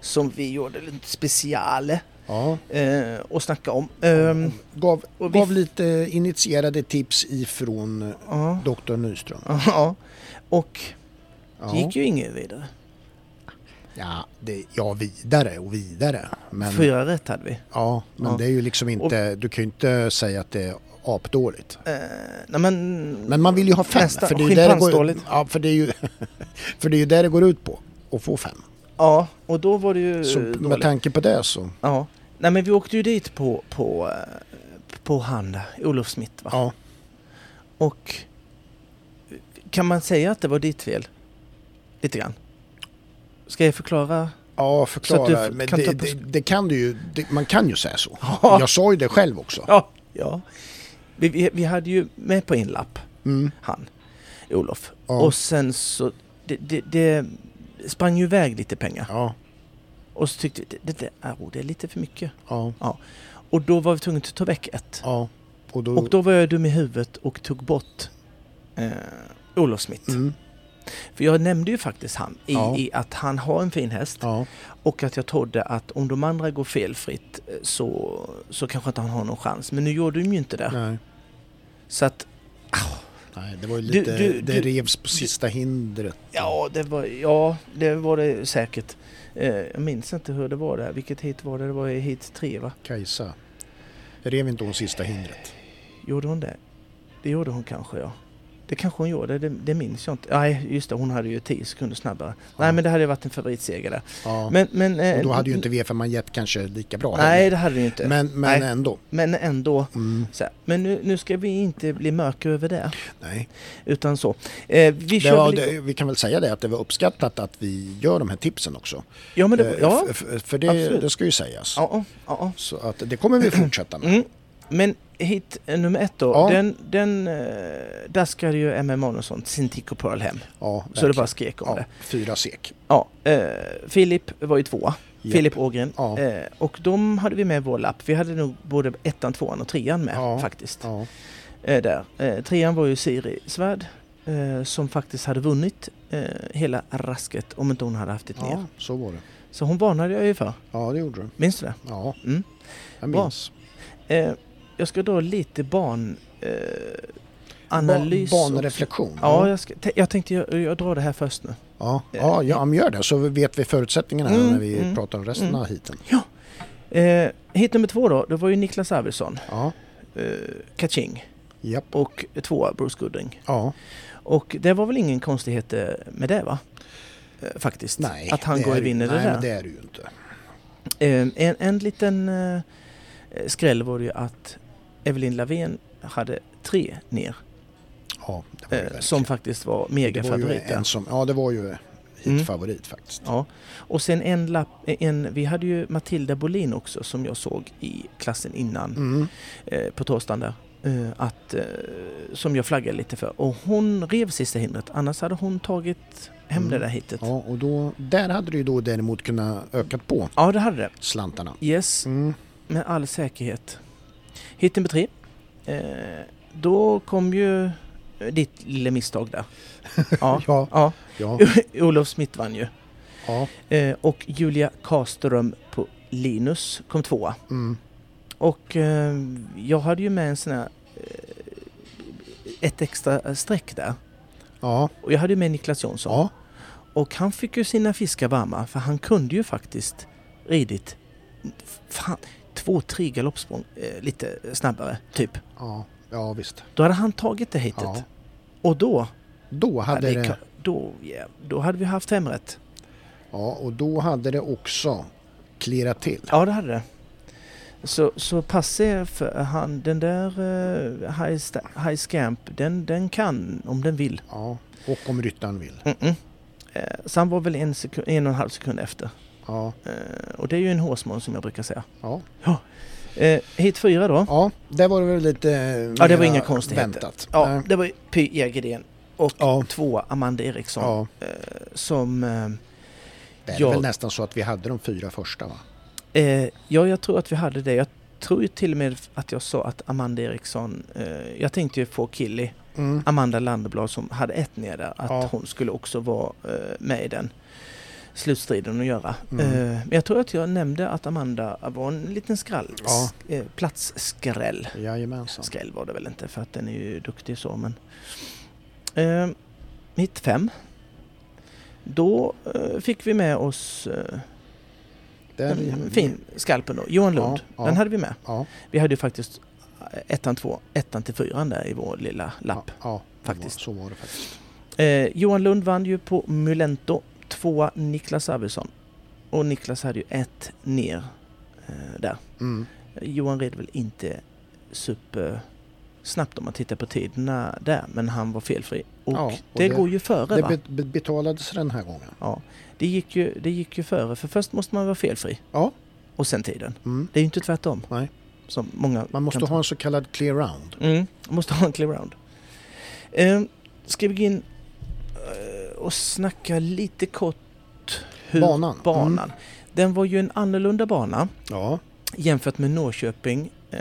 som vi gjorde lite special ja. eh, och snacka om. Ehm, Gav, Och vi- gav lite initierade tips ifrån eh, Ja, doktor Nyström. ja. Och Ja. det gick ju inget vidare. Ja, det, ja, vidare och vidare. Men, Fyra rätt hade vi. ja, men Ja. det är ju liksom inte, du kan ju inte säga att det är apdåligt. Eh, nej men... Men man vill ju ha fem. Nästa, för det är ju där det går, schimpansdåligt. ja, för det är ju för det är ju där det går ut på. Att få fem. Ja, och då var det ju Så eh, med dåligt. tanke på det så, Ja. Nej men vi åkte ju dit på, på, eh, på han där, Olof Smith va? ja. Och kan man säga att det var ditt fel? Lite grann. Ska jag förklara? Ja, Så att du förklara. f- Men kan det, ta på- det, det kan du ju, det, man kan ju säga så. Ja. Jag sa ju det själv också. Ja. ja. Vi, vi, vi hade ju med på en lapp, Mm. han, Olof. Ja. Och sen så, det, det, det sprang ju iväg lite pengar. Ja, Och så tyckte vi, det, det, där, oh, det är lite för mycket. ja, Och då var vi tvungna att ta väck ett. ja. Och då... Och då var jag dum i huvudet och tog bort eh, Olof Smith. Mm. För jag nämnde ju faktiskt han i, Ja. i att han har en fin häst. Ja, Och att jag trodde att om de andra går felfritt eh, så, så kanske inte han har någon chans. Men nu gjorde de ju inte det. nej. Så att, nej. Det var ju Du- lite, du- det du- revs på sista hindret. ja det var, ja, det, var det säkert. Eh, jag minns inte hur det var där. Vilket hit var det? Det var i hit tre va? Kajsa. Rev inte hon sista hindret? Gjorde hon det? Det gjorde hon kanske ja. Det kanske hon gjorde, det, det minns jag inte. Nej, just det, hon hade ju 10 sekunder snabbare. Nej, men det hade ju varit en favoritseger där. Ja. Men, men, eh, och då hade ju inte V5 Jet kanske lika bra Nej, heller. det hade det ju inte. Men, Men, men Nej. ändå. ändå. Mm. Så här. Men nu, nu ska vi inte bli mörka över det. Nej. Utan så. Eh, vi Det kör var, väl- det, vi kan väl säga det att det var uppskattat att vi gör de här tipsen också. Ja, men det, Eh, ja. f- f- för det, absolut. det ska ju sägas. Ja, ja, ja. Så att det kommer vi fortsätta med. Mm. Men hit eh, nummer ett då, Ja. den, den eh, daskade ju Emma Magnusson sin Tico Pearl hem. Ja, Så det verkligen. bara skrek om ja, det. fyra sek. Ja, eh, Filip var ju tvåa, Japp. Filip Ågren. Ja. Eh, och de hade vi med i vår lapp. Vi hade nog både ettan, tvåan och trean med Ja. faktiskt. Ja. Eh, där. Eh, trean var ju Siri Svärd eh, som faktiskt hade vunnit eh, hela rasket om inte hon hade haft det ner. ja, så var det. Så hon varnade jag ju för. Ja, det gjorde du. Minns du det? Ja, Mm. jag Bra. minns. Eh, jag ska dra lite barn... Eh, analys Ba- också. Banreflektion. Ja, jag, ska, te- jag tänkte jag, jag drar det här först nu. Ja, ja, ja men gör det så vet vi förutsättningarna här Mm, när vi mm, pratar om resten mm. av heaten. Eh, hit nummer två då, det var ju Niklas Arvidsson, Ja, eh, Kaching japp. och tvåa Bruce Gooding. Ja, Och det var väl ingen konstighet eh, med det va? Eh, faktiskt. nej. att han det går är och vinner ju, nej, det där. Men det är det ju inte. Eh, en, en liten eh, skräll var det ju att Evelyn Lavén hade tre ner. Ja, det var ju Eh, verkligen. som Mm. faktiskt var det var ju megafavoriten. en som, Ja, det var ju hitfavorit faktiskt. Ja. Och sen en lapp, en, vi hade ju Matilda Bolin också som jag såg i klassen innan Mm. eh, på torsdagen där. Eh, att, eh, som jag flaggade lite för. Och hon rev sista hindret, annars hade hon tagit hem Mm. det där hitet. Ja. Ja, och då, där hade du ju då däremot kunnat ökat på det hade det. slantarna. Yes, Mm. med all säkerhet. Hit nummer tre. Eh, då kom ju eh, ditt lilla misstag där. Ja. Ja, ja. ja, Olof Smith vann ju. ja. Eh, och Julia Karström på Linus kom tvåa. Mm. Och eh, jag hade ju med en sån här... Eh, ett extra streck där. Ja, Och jag hade ju med Niklas Jonsson. ja, Och han fick ju sina fiskar varma för han kunde ju faktiskt ridit fan, två, tre galoppsprång eh, lite snabbare typ. ja, ja visst. Då hade han tagit det hitet. Ja. Och då, Då hade ja, det är det, klart, då, ja, då hade vi haft fem rätt. ja, och då hade det också klirrat till. Ja, det hade det. Så, så passé för han, den där eh, high, sta- high Scamp, den, den kan om den vill. Ja, och om ryttaren vill. Mm-mm. Eh, så han var väl en, sekund, en och en halv sekund efter. Ja, Eh, och det är ju en hårsmån som jag brukar säga. ja. Eh, hit fyra då. ja där var det väl lite Ja, det var mera inga konstigheter. Väntat. Ja, Nej. det var Py Jägerdén och Ja. två Amanda Eriksson ja. som... eh, Det är Ja. väl nästan så att vi hade de fyra första va? Eh, ja, jag tror att vi hade det. Jag tror ju till och med att jag sa att Amanda Eriksson... Eh, jag tänkte ju få Killy, Mm. Amanda Landeblad som hade ett ner där, att Ja. hon skulle också vara eh, med i den slutstriden att göra. Mm. Eh, men jag tror att jag nämnde att Amanda var en liten skrall, Ja. eh, platsskräll. Jajamensan. Skräll var det väl inte för att den är ju duktig så men... Eh, mitt fem. Då eh, fick vi med oss eh, den fin skalpen då, Johan Ja, Lund. ja. Den hade vi med. Ja, Vi hade ju faktiskt eh, ettan, två, ettan till fyran där i vår lilla ja, lapp. ja Faktiskt. Så var det faktiskt. Eh, Johan Lund vann ju på Mulento, tvåa Niklas Arvidsson. Och Niklas hade ju ett ner eh, där. Mm. Johan red väl inte supersnabbt om man tittar på tiderna där, men han var felfri. Och, Ja, och det, det- går ju före Det va? be- be- betalades den här gången. Det gick ju, det gick ju före, för först måste man vara felfri Ja. och sen tiden. Mm. Det är ju inte tvärtom. Nej. Som många Man måste kan ha en så kallad clear round. Mm, måste ha en clear round. Eh, ska vi gå in eh, och snacka lite kort hur Banan. Mm. banan. Den var ju en annorlunda bana Ja, jämfört med Norrköping eh,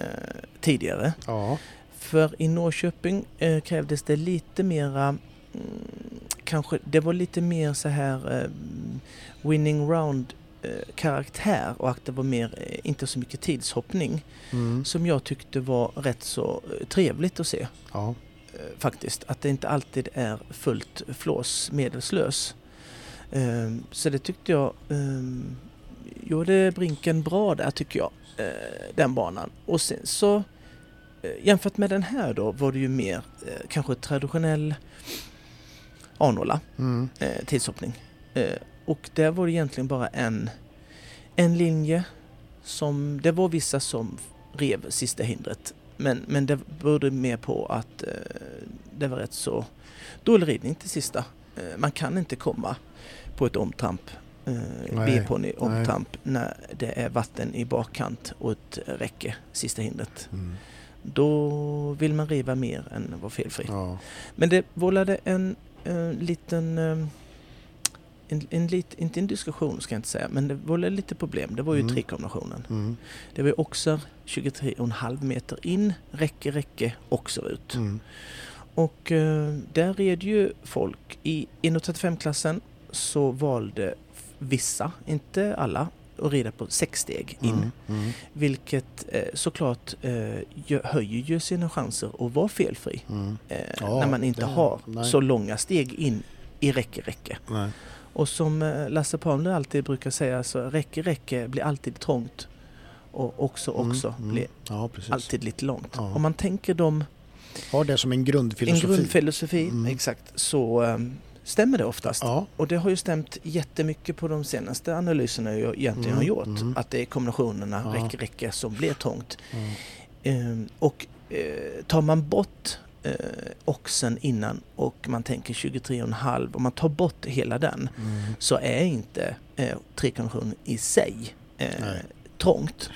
tidigare. ja, För i Norrköping eh, krävdes det lite mera mm, Kanske, det var lite mer så här eh, winning round eh, karaktär och att det var mer, eh, inte så mycket tidshoppning mm. som jag tyckte var rätt så eh, trevligt att se ja, eh, faktiskt. Att det inte alltid är fullt flås medelslös. Ehm, Så det tyckte jag ehm, gjorde Brinken bra där tycker jag, eh, den banan. Och sen så eh, jämfört med den här då var det ju mer eh, kanske traditionell Arnola mm. eh, tidshoppning. Eh, och där var det egentligen bara en, en linje som... Det var vissa som rev sista hindret. Men, men det berodde mer på att eh, det var rätt så dålig ridning till sista. Eh, man kan inte komma på ett omtramp, eh, Nej, B-ponny omtramp, när det är vatten i bakkant och ett räcke, sista hindret. Mm. Då vill man riva mer än vara felfri. Ja. Men det vållade en eh, liten... eh, en, en lit, inte en diskussion ska jag inte säga, men det vållade lite problem. Det var ju Mm. trekombinationen. Mm. Det var ju också 23,5 meter in, räcke, räcke, också ut. Mm. Och eh, där red ju folk. I 1,35-klassen så valde f- vissa, inte alla, att rida på sex steg in. Mm. Mm. Vilket eh, såklart eh, gö- höjer ju sina chanser att vara felfri Mm. eh, Ja, när man inte det- har nej. så långa steg in i räcke, räcke. Nej. Mm. Och som eh, Lasse Palmlund alltid brukar säga så räcke, räcke blir alltid trångt och också, Mm, också mm. blir Ja, precis. alltid lite långt. Ja. Om man tänker dem, Har det som en en grundfilosofi. grundfilosofi, Mm. exakt, så eh, stämmer det oftast. Ja, Och det har ju stämt jättemycket på de senaste analyserna jag egentligen Mm, har gjort. mm. Att det är kombinationerna Ja. Mm. räcke, räcke som blir trångt. Ja. Ehm, och eh, tar man bort eh, oxen innan och man tänker 23,5 och man tar bort hela den så är inte eh, trekonventionen i sig eh, Nej. trångt.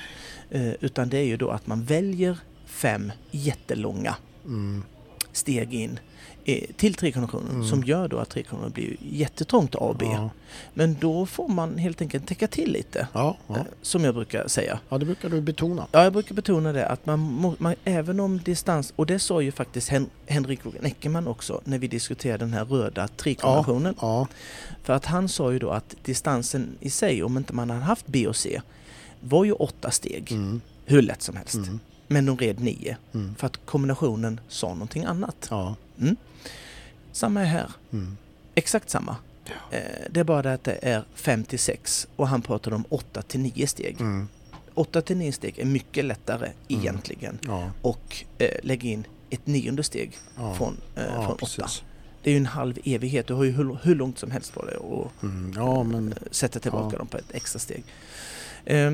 Eh, utan det är ju då att man väljer fem jättelånga Mm. steg in eh, till trekonventionen Mm. som gör då att trekonventionen blir jättetrångt AB. Ja. Men då får man helt enkelt täcka till lite, Ja, ja. eh, som jag brukar säga. ja, det brukar du betona. Ja, jag brukar betona det att man, må, man även om distans, och det sa ju faktiskt Hen, Henrik Eckermann också när vi diskuterade den här röda trikonventionen. Ja, För att han sa ju då att distansen i sig, om inte man hade haft B och C, var ju åtta steg, mm. hur lätt som helst. Mm. Men de red nio, Mm. för att kombinationen sa någonting annat. ja. Samma är här, Mm. exakt samma. Eh, Det är bara det att det är fem till sex och han pratade om åtta till nio steg. Mm. Åtta till nio steg är mycket lättare egentligen ja. och eh, lägga in ett nionde steg Ja. från, eh, ja, från åtta. precis. Det är ju en halv evighet, du har ju hur, hur långt som helst på dig och Mm. Ja, men sätta tillbaka Ja. dem på ett extra steg. Eh,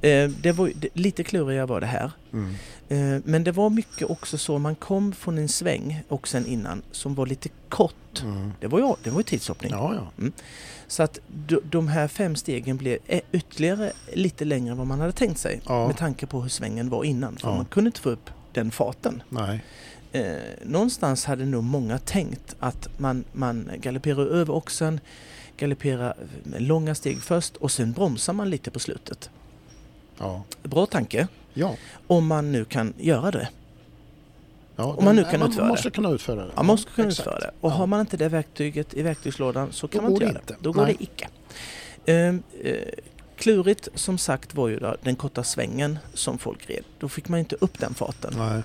eh, det var, ju- det, lite klurigare var det här. mm. Eh, men det var mycket också så, man kom från en sväng och sen innan som var lite kort. Mm. Det var ju, det var ju tidshoppning. ja, ja. Så att d- de här fem stegen blev eh, ytterligare lite längre än vad man hade tänkt sig. Ja. Med tanke på hur svängen var innan. För Ja. man kunde inte få upp den farten. Nej. Eh, någonstans hade nog många tänkt att man, man galopperar över oxen, galopperar med långa steg först och sen bromsar man lite på slutet. Ja. Bra tanke, Ja. om man nu kan göra det. ja. Om man nu Nej, kan man utföra måste kunna utföra det. Ja, man ska kunna exakt. utföra det. Och Ja. har man inte det verktyget i verktygslådan så kan Då man inte går det göra det. inte. Då går Nej. det icke. Ehm, eh, klurigt som sagt var ju då den korta svängen som folk red. Då fick man ju inte upp den farten. Nej.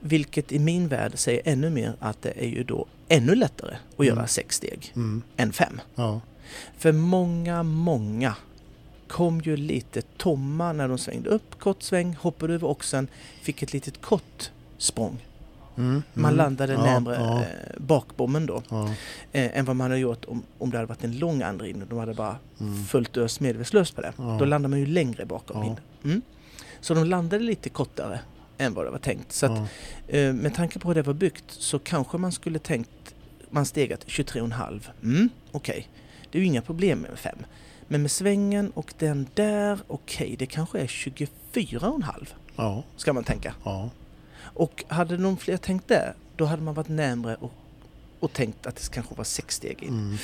Vilket i min värld säger ännu mer att det är ju då ännu lättare att göra Mm. sex steg Mm. än fem. Ja. För många, många kom ju lite tomma när de svängde upp, kort sväng, hoppade över oxen, fick ett litet kort språng. Mm. Man Mm. landade ja. närmare Ja. eh, bakbommen då Ja. eh, än vad man hade gjort om, om det hade varit en lång andring och de hade bara Mm. fullt ös medvetslöst på det. Ja. Då landar man ju längre bakom Ja. in. Mm. Så de landade lite kortare än vad det var tänkt. Så att, Ja. eh, med tanke på hur det var byggt så kanske man skulle tänkt man stegat 23,5. Mm, okej. Det är ju inga problem med 5. Men med svängen och den där, okej, det kanske är 24,5 Ja. ska man tänka. Ja. Och hade någon fler tänkt det, då hade man varit närmre och, och tänkt att det kanske var sex steg in. Mm.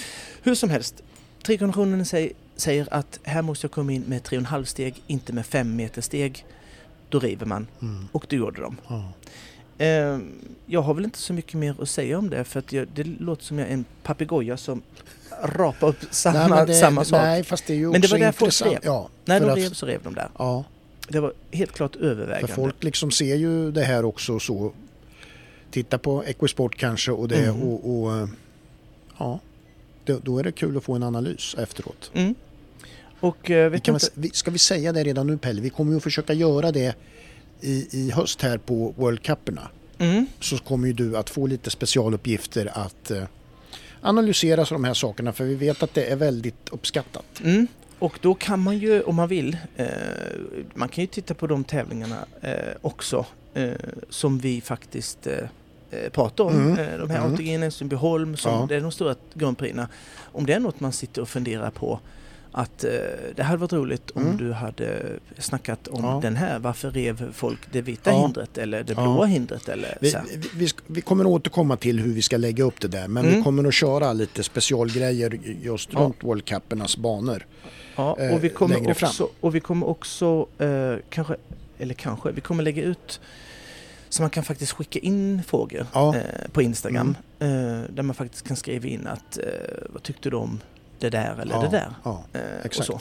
Hur som helst, trikonventionen säg- säger att här måste jag komma in med 3,5 steg, inte med 5 meter steg. Då river man. Mm. Och det gjorde de. Ja. Ehm, Jag har väl inte så mycket mer att säga om det för att jag, det låter som jag är en papegoja som rapar upp samma, men det- samma sak. Nej, Nej, fast det är ju Men det också var där folk intressant. rev. Ja, När för de att- rev så rev de där. Ja, Det var helt klart för övervägande. folk liksom ser ju det här också så. Titta på Equisport kanske och det Mm. och, och eh, ja, då, då är det kul att få en analys efteråt. Mm. Och eh, Vi vet kan, inte... väl- vi- ska vi säga det redan nu Pelle? Vi kommer ju att försöka göra det i, i höst här på World Cuperna. Mm. Så kommer ju du att få lite specialuppgifter att eh, analysera så de här sakerna för vi vet att det är väldigt uppskattat. Mm. Och då kan man ju, om man vill, eh, man kan ju titta på de tävlingarna eh, också eh, som vi faktiskt eh, eh, pratar om. Mm. Eh, de här Mm. ATG, Sundbyholm, som Ja. det är de stora Grand Prixna. Om det är något man sitter och funderar på att eh, det hade varit roligt om Mm. du hade snackat om Ja. den här. Varför rev folk det vita Ja. hindret eller det Ja. blåa hindret? Eller, Vi, så här. vi- vi, sk- vi kommer att återkomma till hur vi ska lägga upp det där men vi Mm. kommer att köra lite specialgrejer just Ja. runt World Cupernas banor. Ja, eh, och vi kommer längre fram. också, och vi kommer också eh, kanske, eller kanske, vi kommer lägga ut så man kan faktiskt skicka in frågor Ja. Mm. eh, på Instagram eh, där man faktiskt kan skriva in att eh, vad tyckte du om det där eller ja, det där? Ja. Eh, exakt. Och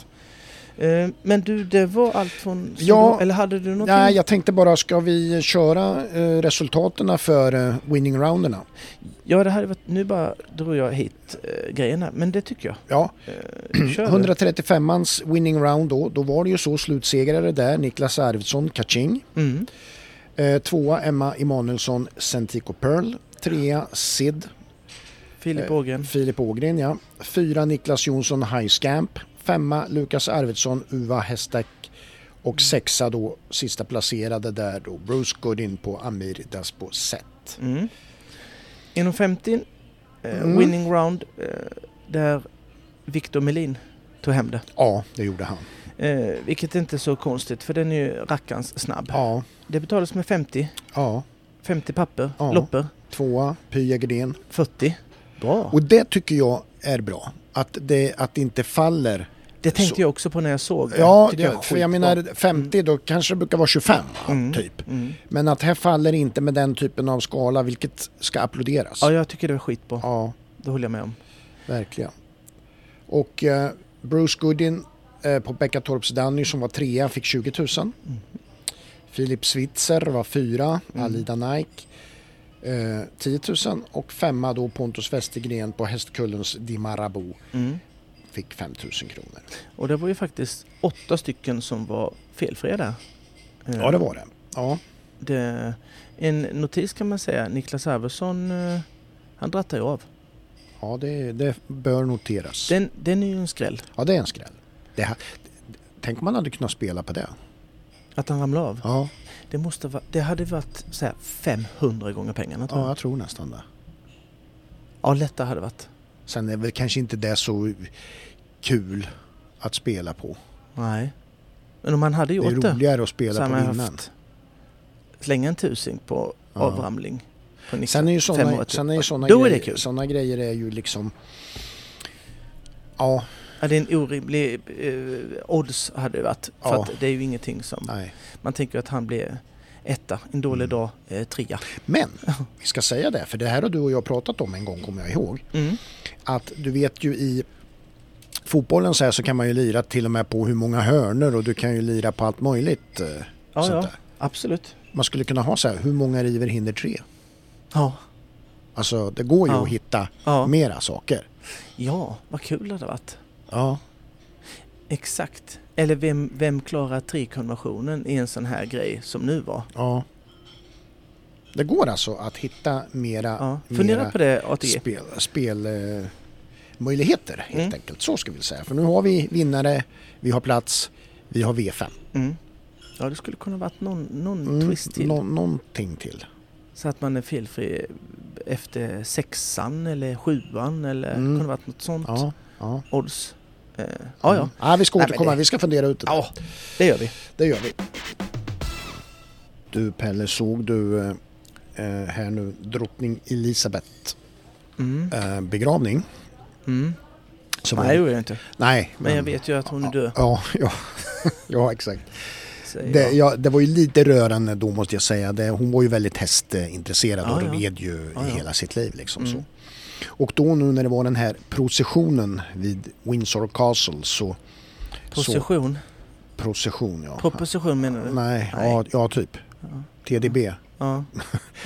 så. Eh, men du, det var allt från... Ja. eller hade du någonting? Nej, jag tänkte bara, ska vi köra eh, resultaten för eh, winning rounderna? Ja, det hade varit, nu bara drog jag hit eh, grejerna, men det tycker jag. Ja, Eh, kör du. 135ans winning round då, då var det ju så slutsegrare där, Niklas Arvidsson, Kaching. Mm. Eh, tvåa Emma Emanuelsson, Centico Pearl. Trea Sid, Eh. Filip Ågren. Filip Ågren, ja. Fyra Niklas Jonsson Highscamp. Femma Lukas Arvidsson Uva Hestak. Och sexa då sista placerade där då Bruce Goodin på Amir Daspo Set. Mm. 1.50, eh, Mm. winning round, eh, där Victor Melin tog hem det. Ja, det gjorde han. Eh, vilket är inte är så konstigt för den är ju rackarns snabb. Ja, Det betalades med 50, ja. 50 papper, Ja. loppor, Tvåa, Pia Gren. 40. Bra! Och det tycker jag är bra. Att det, att det inte faller. Det tänkte så- jag också på när jag såg det. Ja, Tycker det, är för jag skitbra. menar 50 då kanske det brukar vara 25 va, Mm. typ. Mm. Men att här faller inte med den typen av skala vilket ska applåderas. Ja, jag tycker det var skitbra. Ja, Det håller jag med om. verkligen. Och eh, Bruce Goodin eh, på Bäckatorps Danny som var trea fick 20 000. Filip Switzer var fyra, Alida Nike eh, 10 000 och femma då Pontus Westergren på Hästkullens Dimarabo Mm. fick 5 000 kronor. Och det var ju faktiskt åtta stycken som var felfria där. Eh, Ja, det var det. Ja, det- En notis kan man säga, Niklas Arvidsson, eh, han drattar ju av. ja det, det bör noteras. Den, den är ju en skräll, Ja, det är en skräll. Det här, tänk om man hade kunnat spela på det. att han ramlade av. Ja, Det, måste va, det hade varit så här 500 gånger pengarna tror ja jag. jag tror nästan det. Ja, lättare hade det varit. Sen är väl kanske inte det så kul att spela på. Nej. Men om han hade Det gjort är det, roligare att så spela hade på man vinnaren. haft slänga en tusing på Ja. avramling. På Niklas. Sen är ju Fem år sådana, till. sen är ju såna Då är det grejer, kul. såna grejer är ju liksom... Ja, Ja, det är en orimlig... Eh, odds hade det varit. För Ja. att det är ju ingenting som... nej. Mm. Man tänker att han blir etta, en dålig dag, eh, trea. Men vi ska säga det, för det här har du och jag pratat om en gång kommer jag ihåg. Mm. Att du vet ju i fotbollen så här så kan man ju lira till och med på hur många hörnor och du kan ju lira på allt möjligt. eh, Ja, sånt ja. där. Absolut. Man skulle kunna ha så här, hur många river hinner tre? Ja. Alltså det går ju Ja. att hitta Ja. mera saker. ja, vad kul det hade varit. Ja. Exakt. Eller vem, vem klarar trikonversionen i en sån här grej som nu var? ja. Det går alltså att hitta mera, Ja. Fundera mera på det ATG. spel, spel, eh, möjligheter helt Mm. enkelt. Så ska vi säga. För nu har vi vinnare, vi har plats, vi har V5. Mm. Ja, det skulle kunna varit någon, någon Mm, twist till. nå- någonting till. Så att man är felfri efter sexan eller sjuan eller Mm. kunde varit något sånt Ja, ja. odds. Eh, ja, ja, Mm. ja vi ska Nej, men återkomma, det- vi ska fundera ut det. där. ja, det gör vi. Det gör vi. Du Pelle, såg du eh, eh, här nu drottning Elisabeth Mm. eh, begravning? Mm. Så var- Nej, det gjorde jag inte. Nej, Men jag vet ju att hon är död. Ja, ja, ja exakt. säger Det, jag. ja, det var ju lite rörande då måste jag säga. Det, hon var ju väldigt hästintresserad Ja, och ja. red ju Ja, ja. hela sitt liv. Liksom, Mm. så. Och då nu när det var den här processionen vid Windsor Castle så... så Position. procession ja. Proposition menar du? Nej, Nej. Ja, ja typ. TDB. Ja.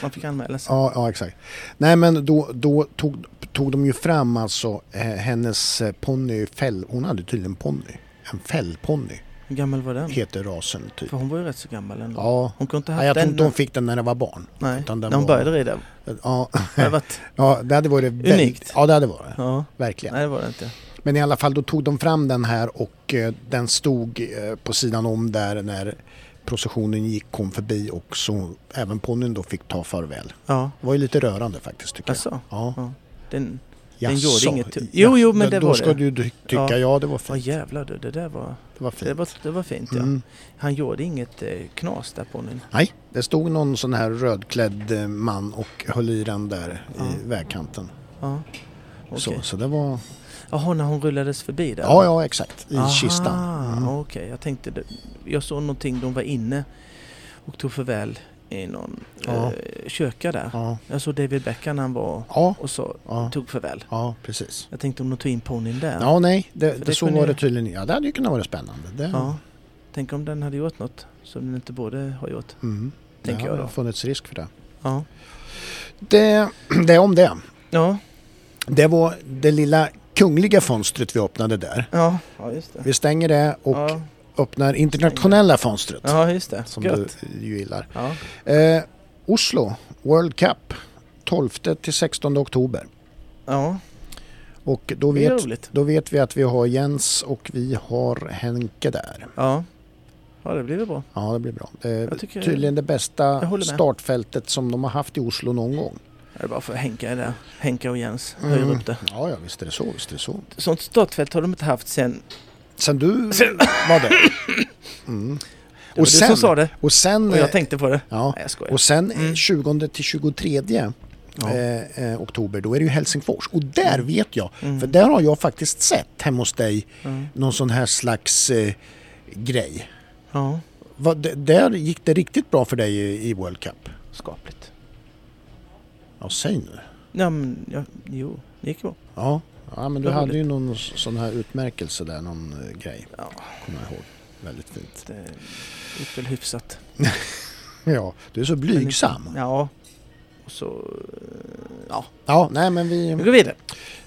Man fick anmäla sig. Ja, ja exakt. Nej men då, då tog, tog de ju fram alltså eh, hennes eh, ponny, fäll, hon hade tydligen ponny. En fällponny Hur gammal var den? heter rasen typ. För hon var ju rätt så gammal ändå. Ja. Hon kunde inte ha Nej, haft jag tror den. inte hon fick den när det var barn. Nej, utan den när hon var- började rida. Ja, Det hade varit... ja det hade varit väldigt, Unikt. Ja, det hade varit. Ja. Verkligen. Nej, det var det inte. Men i alla fall, då tog de fram den här och eh, den stod eh, på sidan om där när processionen gick, kom förbi och så även ponnyn då fick ta farväl. Ja, Det var ju lite rörande faktiskt tycker Asså? jag. Ja. ja. Den... Ja. Alltså, Den gjorde inget tu- Jo, jo, men det då var ska det. du ty- tycka, ja, Ja. det var Vad fint. jävlar du, det där var... Det var fint. Det var, det var fint ja. Mm. Han gjorde inget eh, knas där på nu. Nej, det stod någon sån här rödklädd eh, man och höll i den där Ja. i vägkanten. Ja. Okej. Så, så det var... Jaha, när hon rullades förbi där? Ja, ja, exakt. I Aha, kistan. Mm. Okej, jag tänkte... det- Jag såg någonting, de var inne och tog farväl i någon Ja. eh, köka där. Ja, Jag såg David Beckham när han var ja, och så ja, tog farväl. ja, precis. Jag tänkte om de tog in ponnyn där. Ja, nej, det, För det det så kunde var det ju- tydligen. Ja, det hade ju kunnat vara spännande. Det, Ja. Tänk om den hade gjort något som den inte borde ha gjort. mm, det Tänker jag har då. funnits risk för det. Ja. det. Det om det. Ja, Det var det lilla kungliga fönstret vi öppnade där. ja. ja just det. Vi stänger det och Ja, öppnar internationella fönstret. ja just det. Som Gött. du ju gillar. Ja. Eh, Oslo World Cup 12 till 16 oktober. ja, Och då det är vet, roligt. då vet vi att vi har Jens och vi har Henke där. Ja. ja, det blir väl bra. Ja, det blir bra. Det är Jag tycker- tydligen det Jag bästa håller med. startfältet som de har haft i Oslo någon gång. Det är bara för Henke är där. Henke och Jens Mm. höjer upp det. Ja, ja, visst är det så. Visst är det så. Sånt startfält har de inte haft sen... Sen du var det. Det var du som sa det. Och sen... Och jag tänkte Mm. på det. Ja, Nej, jag skojar. och sen eh, 20 till 23 eh, eh, oktober, då är det ju Helsingfors. Och där Mm. vet jag, för där har jag faktiskt sett hemma hos dig Mm. någon sån här slags eh, grej. Ja, Va, d- där gick det riktigt bra för dig i, i World Cup. skapligt. Ja, säg nu. Ja, men, ja, jo, det gick bra. Ja, ja men du Roligt. hade ju någon s- sån här utmärkelse där, någon eh, grej. Ja. Kommer jag ihåg. Väldigt fint. Det gick väl hyfsat. Ja, du är så blygsam. Ja. Och så... eh, Ja, Ja, nej men vi vi, går vidare.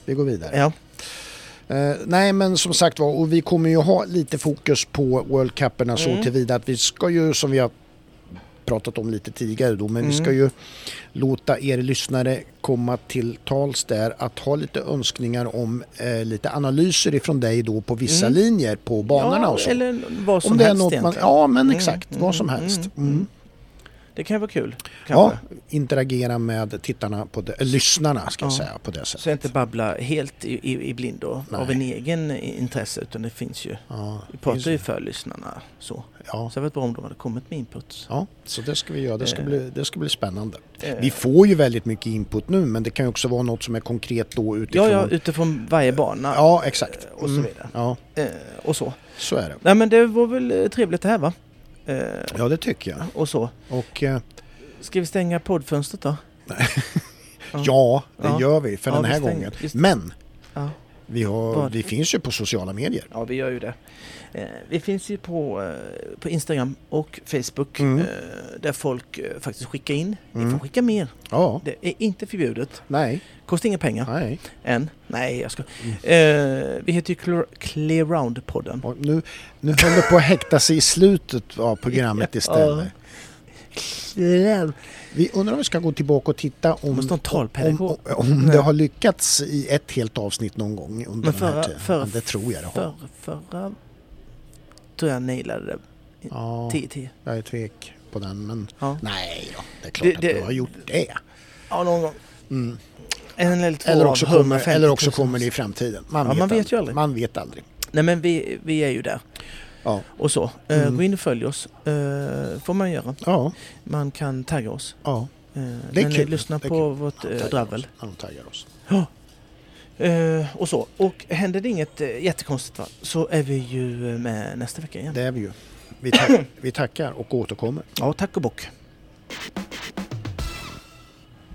vi går vidare. Ja. Eh, nej men som sagt var, och vi kommer ju ha lite fokus på World Cuperna så Mm. tillvida att vi ska ju, som vi har pratat om lite tidigare då, men vi ska ju låta er lyssnare komma till tals där att ha lite önskningar om eh, lite analyser ifrån dig då på vissa linjer på banorna ja, och så. Eller vad som om det är helst något man, egentligen. ja men Mm, exakt, mm, vad som mm, helst. mm. Mm. Det kan ju vara kul. Ja, Kanske. interagera med tittarna, på det, eh, lyssnarna ska jag Ja. säga på det sättet. Så jag inte babbla helt i, i, i blindo Nej. av en egen i- intresse utan det finns ju. Ja, Vi just pratar det. ju för lyssnarna så. ja. Så det hade varit bra om de hade kommit med input. Ja, så det ska vi göra. Det ska, Eh. bli, det ska bli spännande. Eh. Vi får ju väldigt mycket input nu, men det kan ju också vara något som är konkret då eh, Ja, utifrån. ja, utifrån varje bana ja exakt. eh, och så Mm. vidare. Ja, Eh, och så. så är det. Nej men det var väl eh, trevligt det här va? Eh, Ja, det tycker jag. och så. Och eh, Ska vi stänga poddfönstret då? Ja. ja, det Ja. gör vi för Ja, den här visst, gången. visst. Men Ja. vi, har, Vad? vi finns ju på sociala medier. Ja, vi gör ju det. Eh, vi finns ju på, eh, på Instagram och Facebook Mm. eh, där folk eh, faktiskt skickar in. Ni Mm. får skicka mer. Ja, Det är inte förbjudet. nej, Kostar inga pengar nej. Mm. än. Nej, jag ska. Eh, vi heter ju Clear- Clear Round-podden. Och nu, nu höll det på att häkta sig i slutet av programmet istället. Vi undrar om vi ska gå tillbaka och titta om, Måste ha en om, talpedagog. om, om det har lyckats i ett helt avsnitt någon gång under Men den här förra, tiden. förra, Men det tror jag det har. Förra, förra tror jag nailade det. Ja, 10-10. jag är tvek på den men Ja. nej då, det är klart Det- att det- du har gjort det. Mm. ja, någon gång. En eller två Eller av också, kommer, 150 eller också 000. kommer det i framtiden. Man, Ja, vet, man vet aldrig. ju aldrig. Man vet aldrig. Nej, men vi, vi är ju där. Ja. Och så. Eh, Mm. Gå in och följ oss. Eh, får man göra. Ja, Man kan tagga oss. ja. Eh, Det är men kul. lyssna Det är på kul. vårt Han eh, taggar dravel. oss. Han taggar oss. Ja. Eh, och så. Och händer det inget eh, jättekonstigt va? så är vi ju eh, med nästa vecka igen. Det är vi ju. Vi, tack, vi tackar och återkommer. Ja, tack och bock.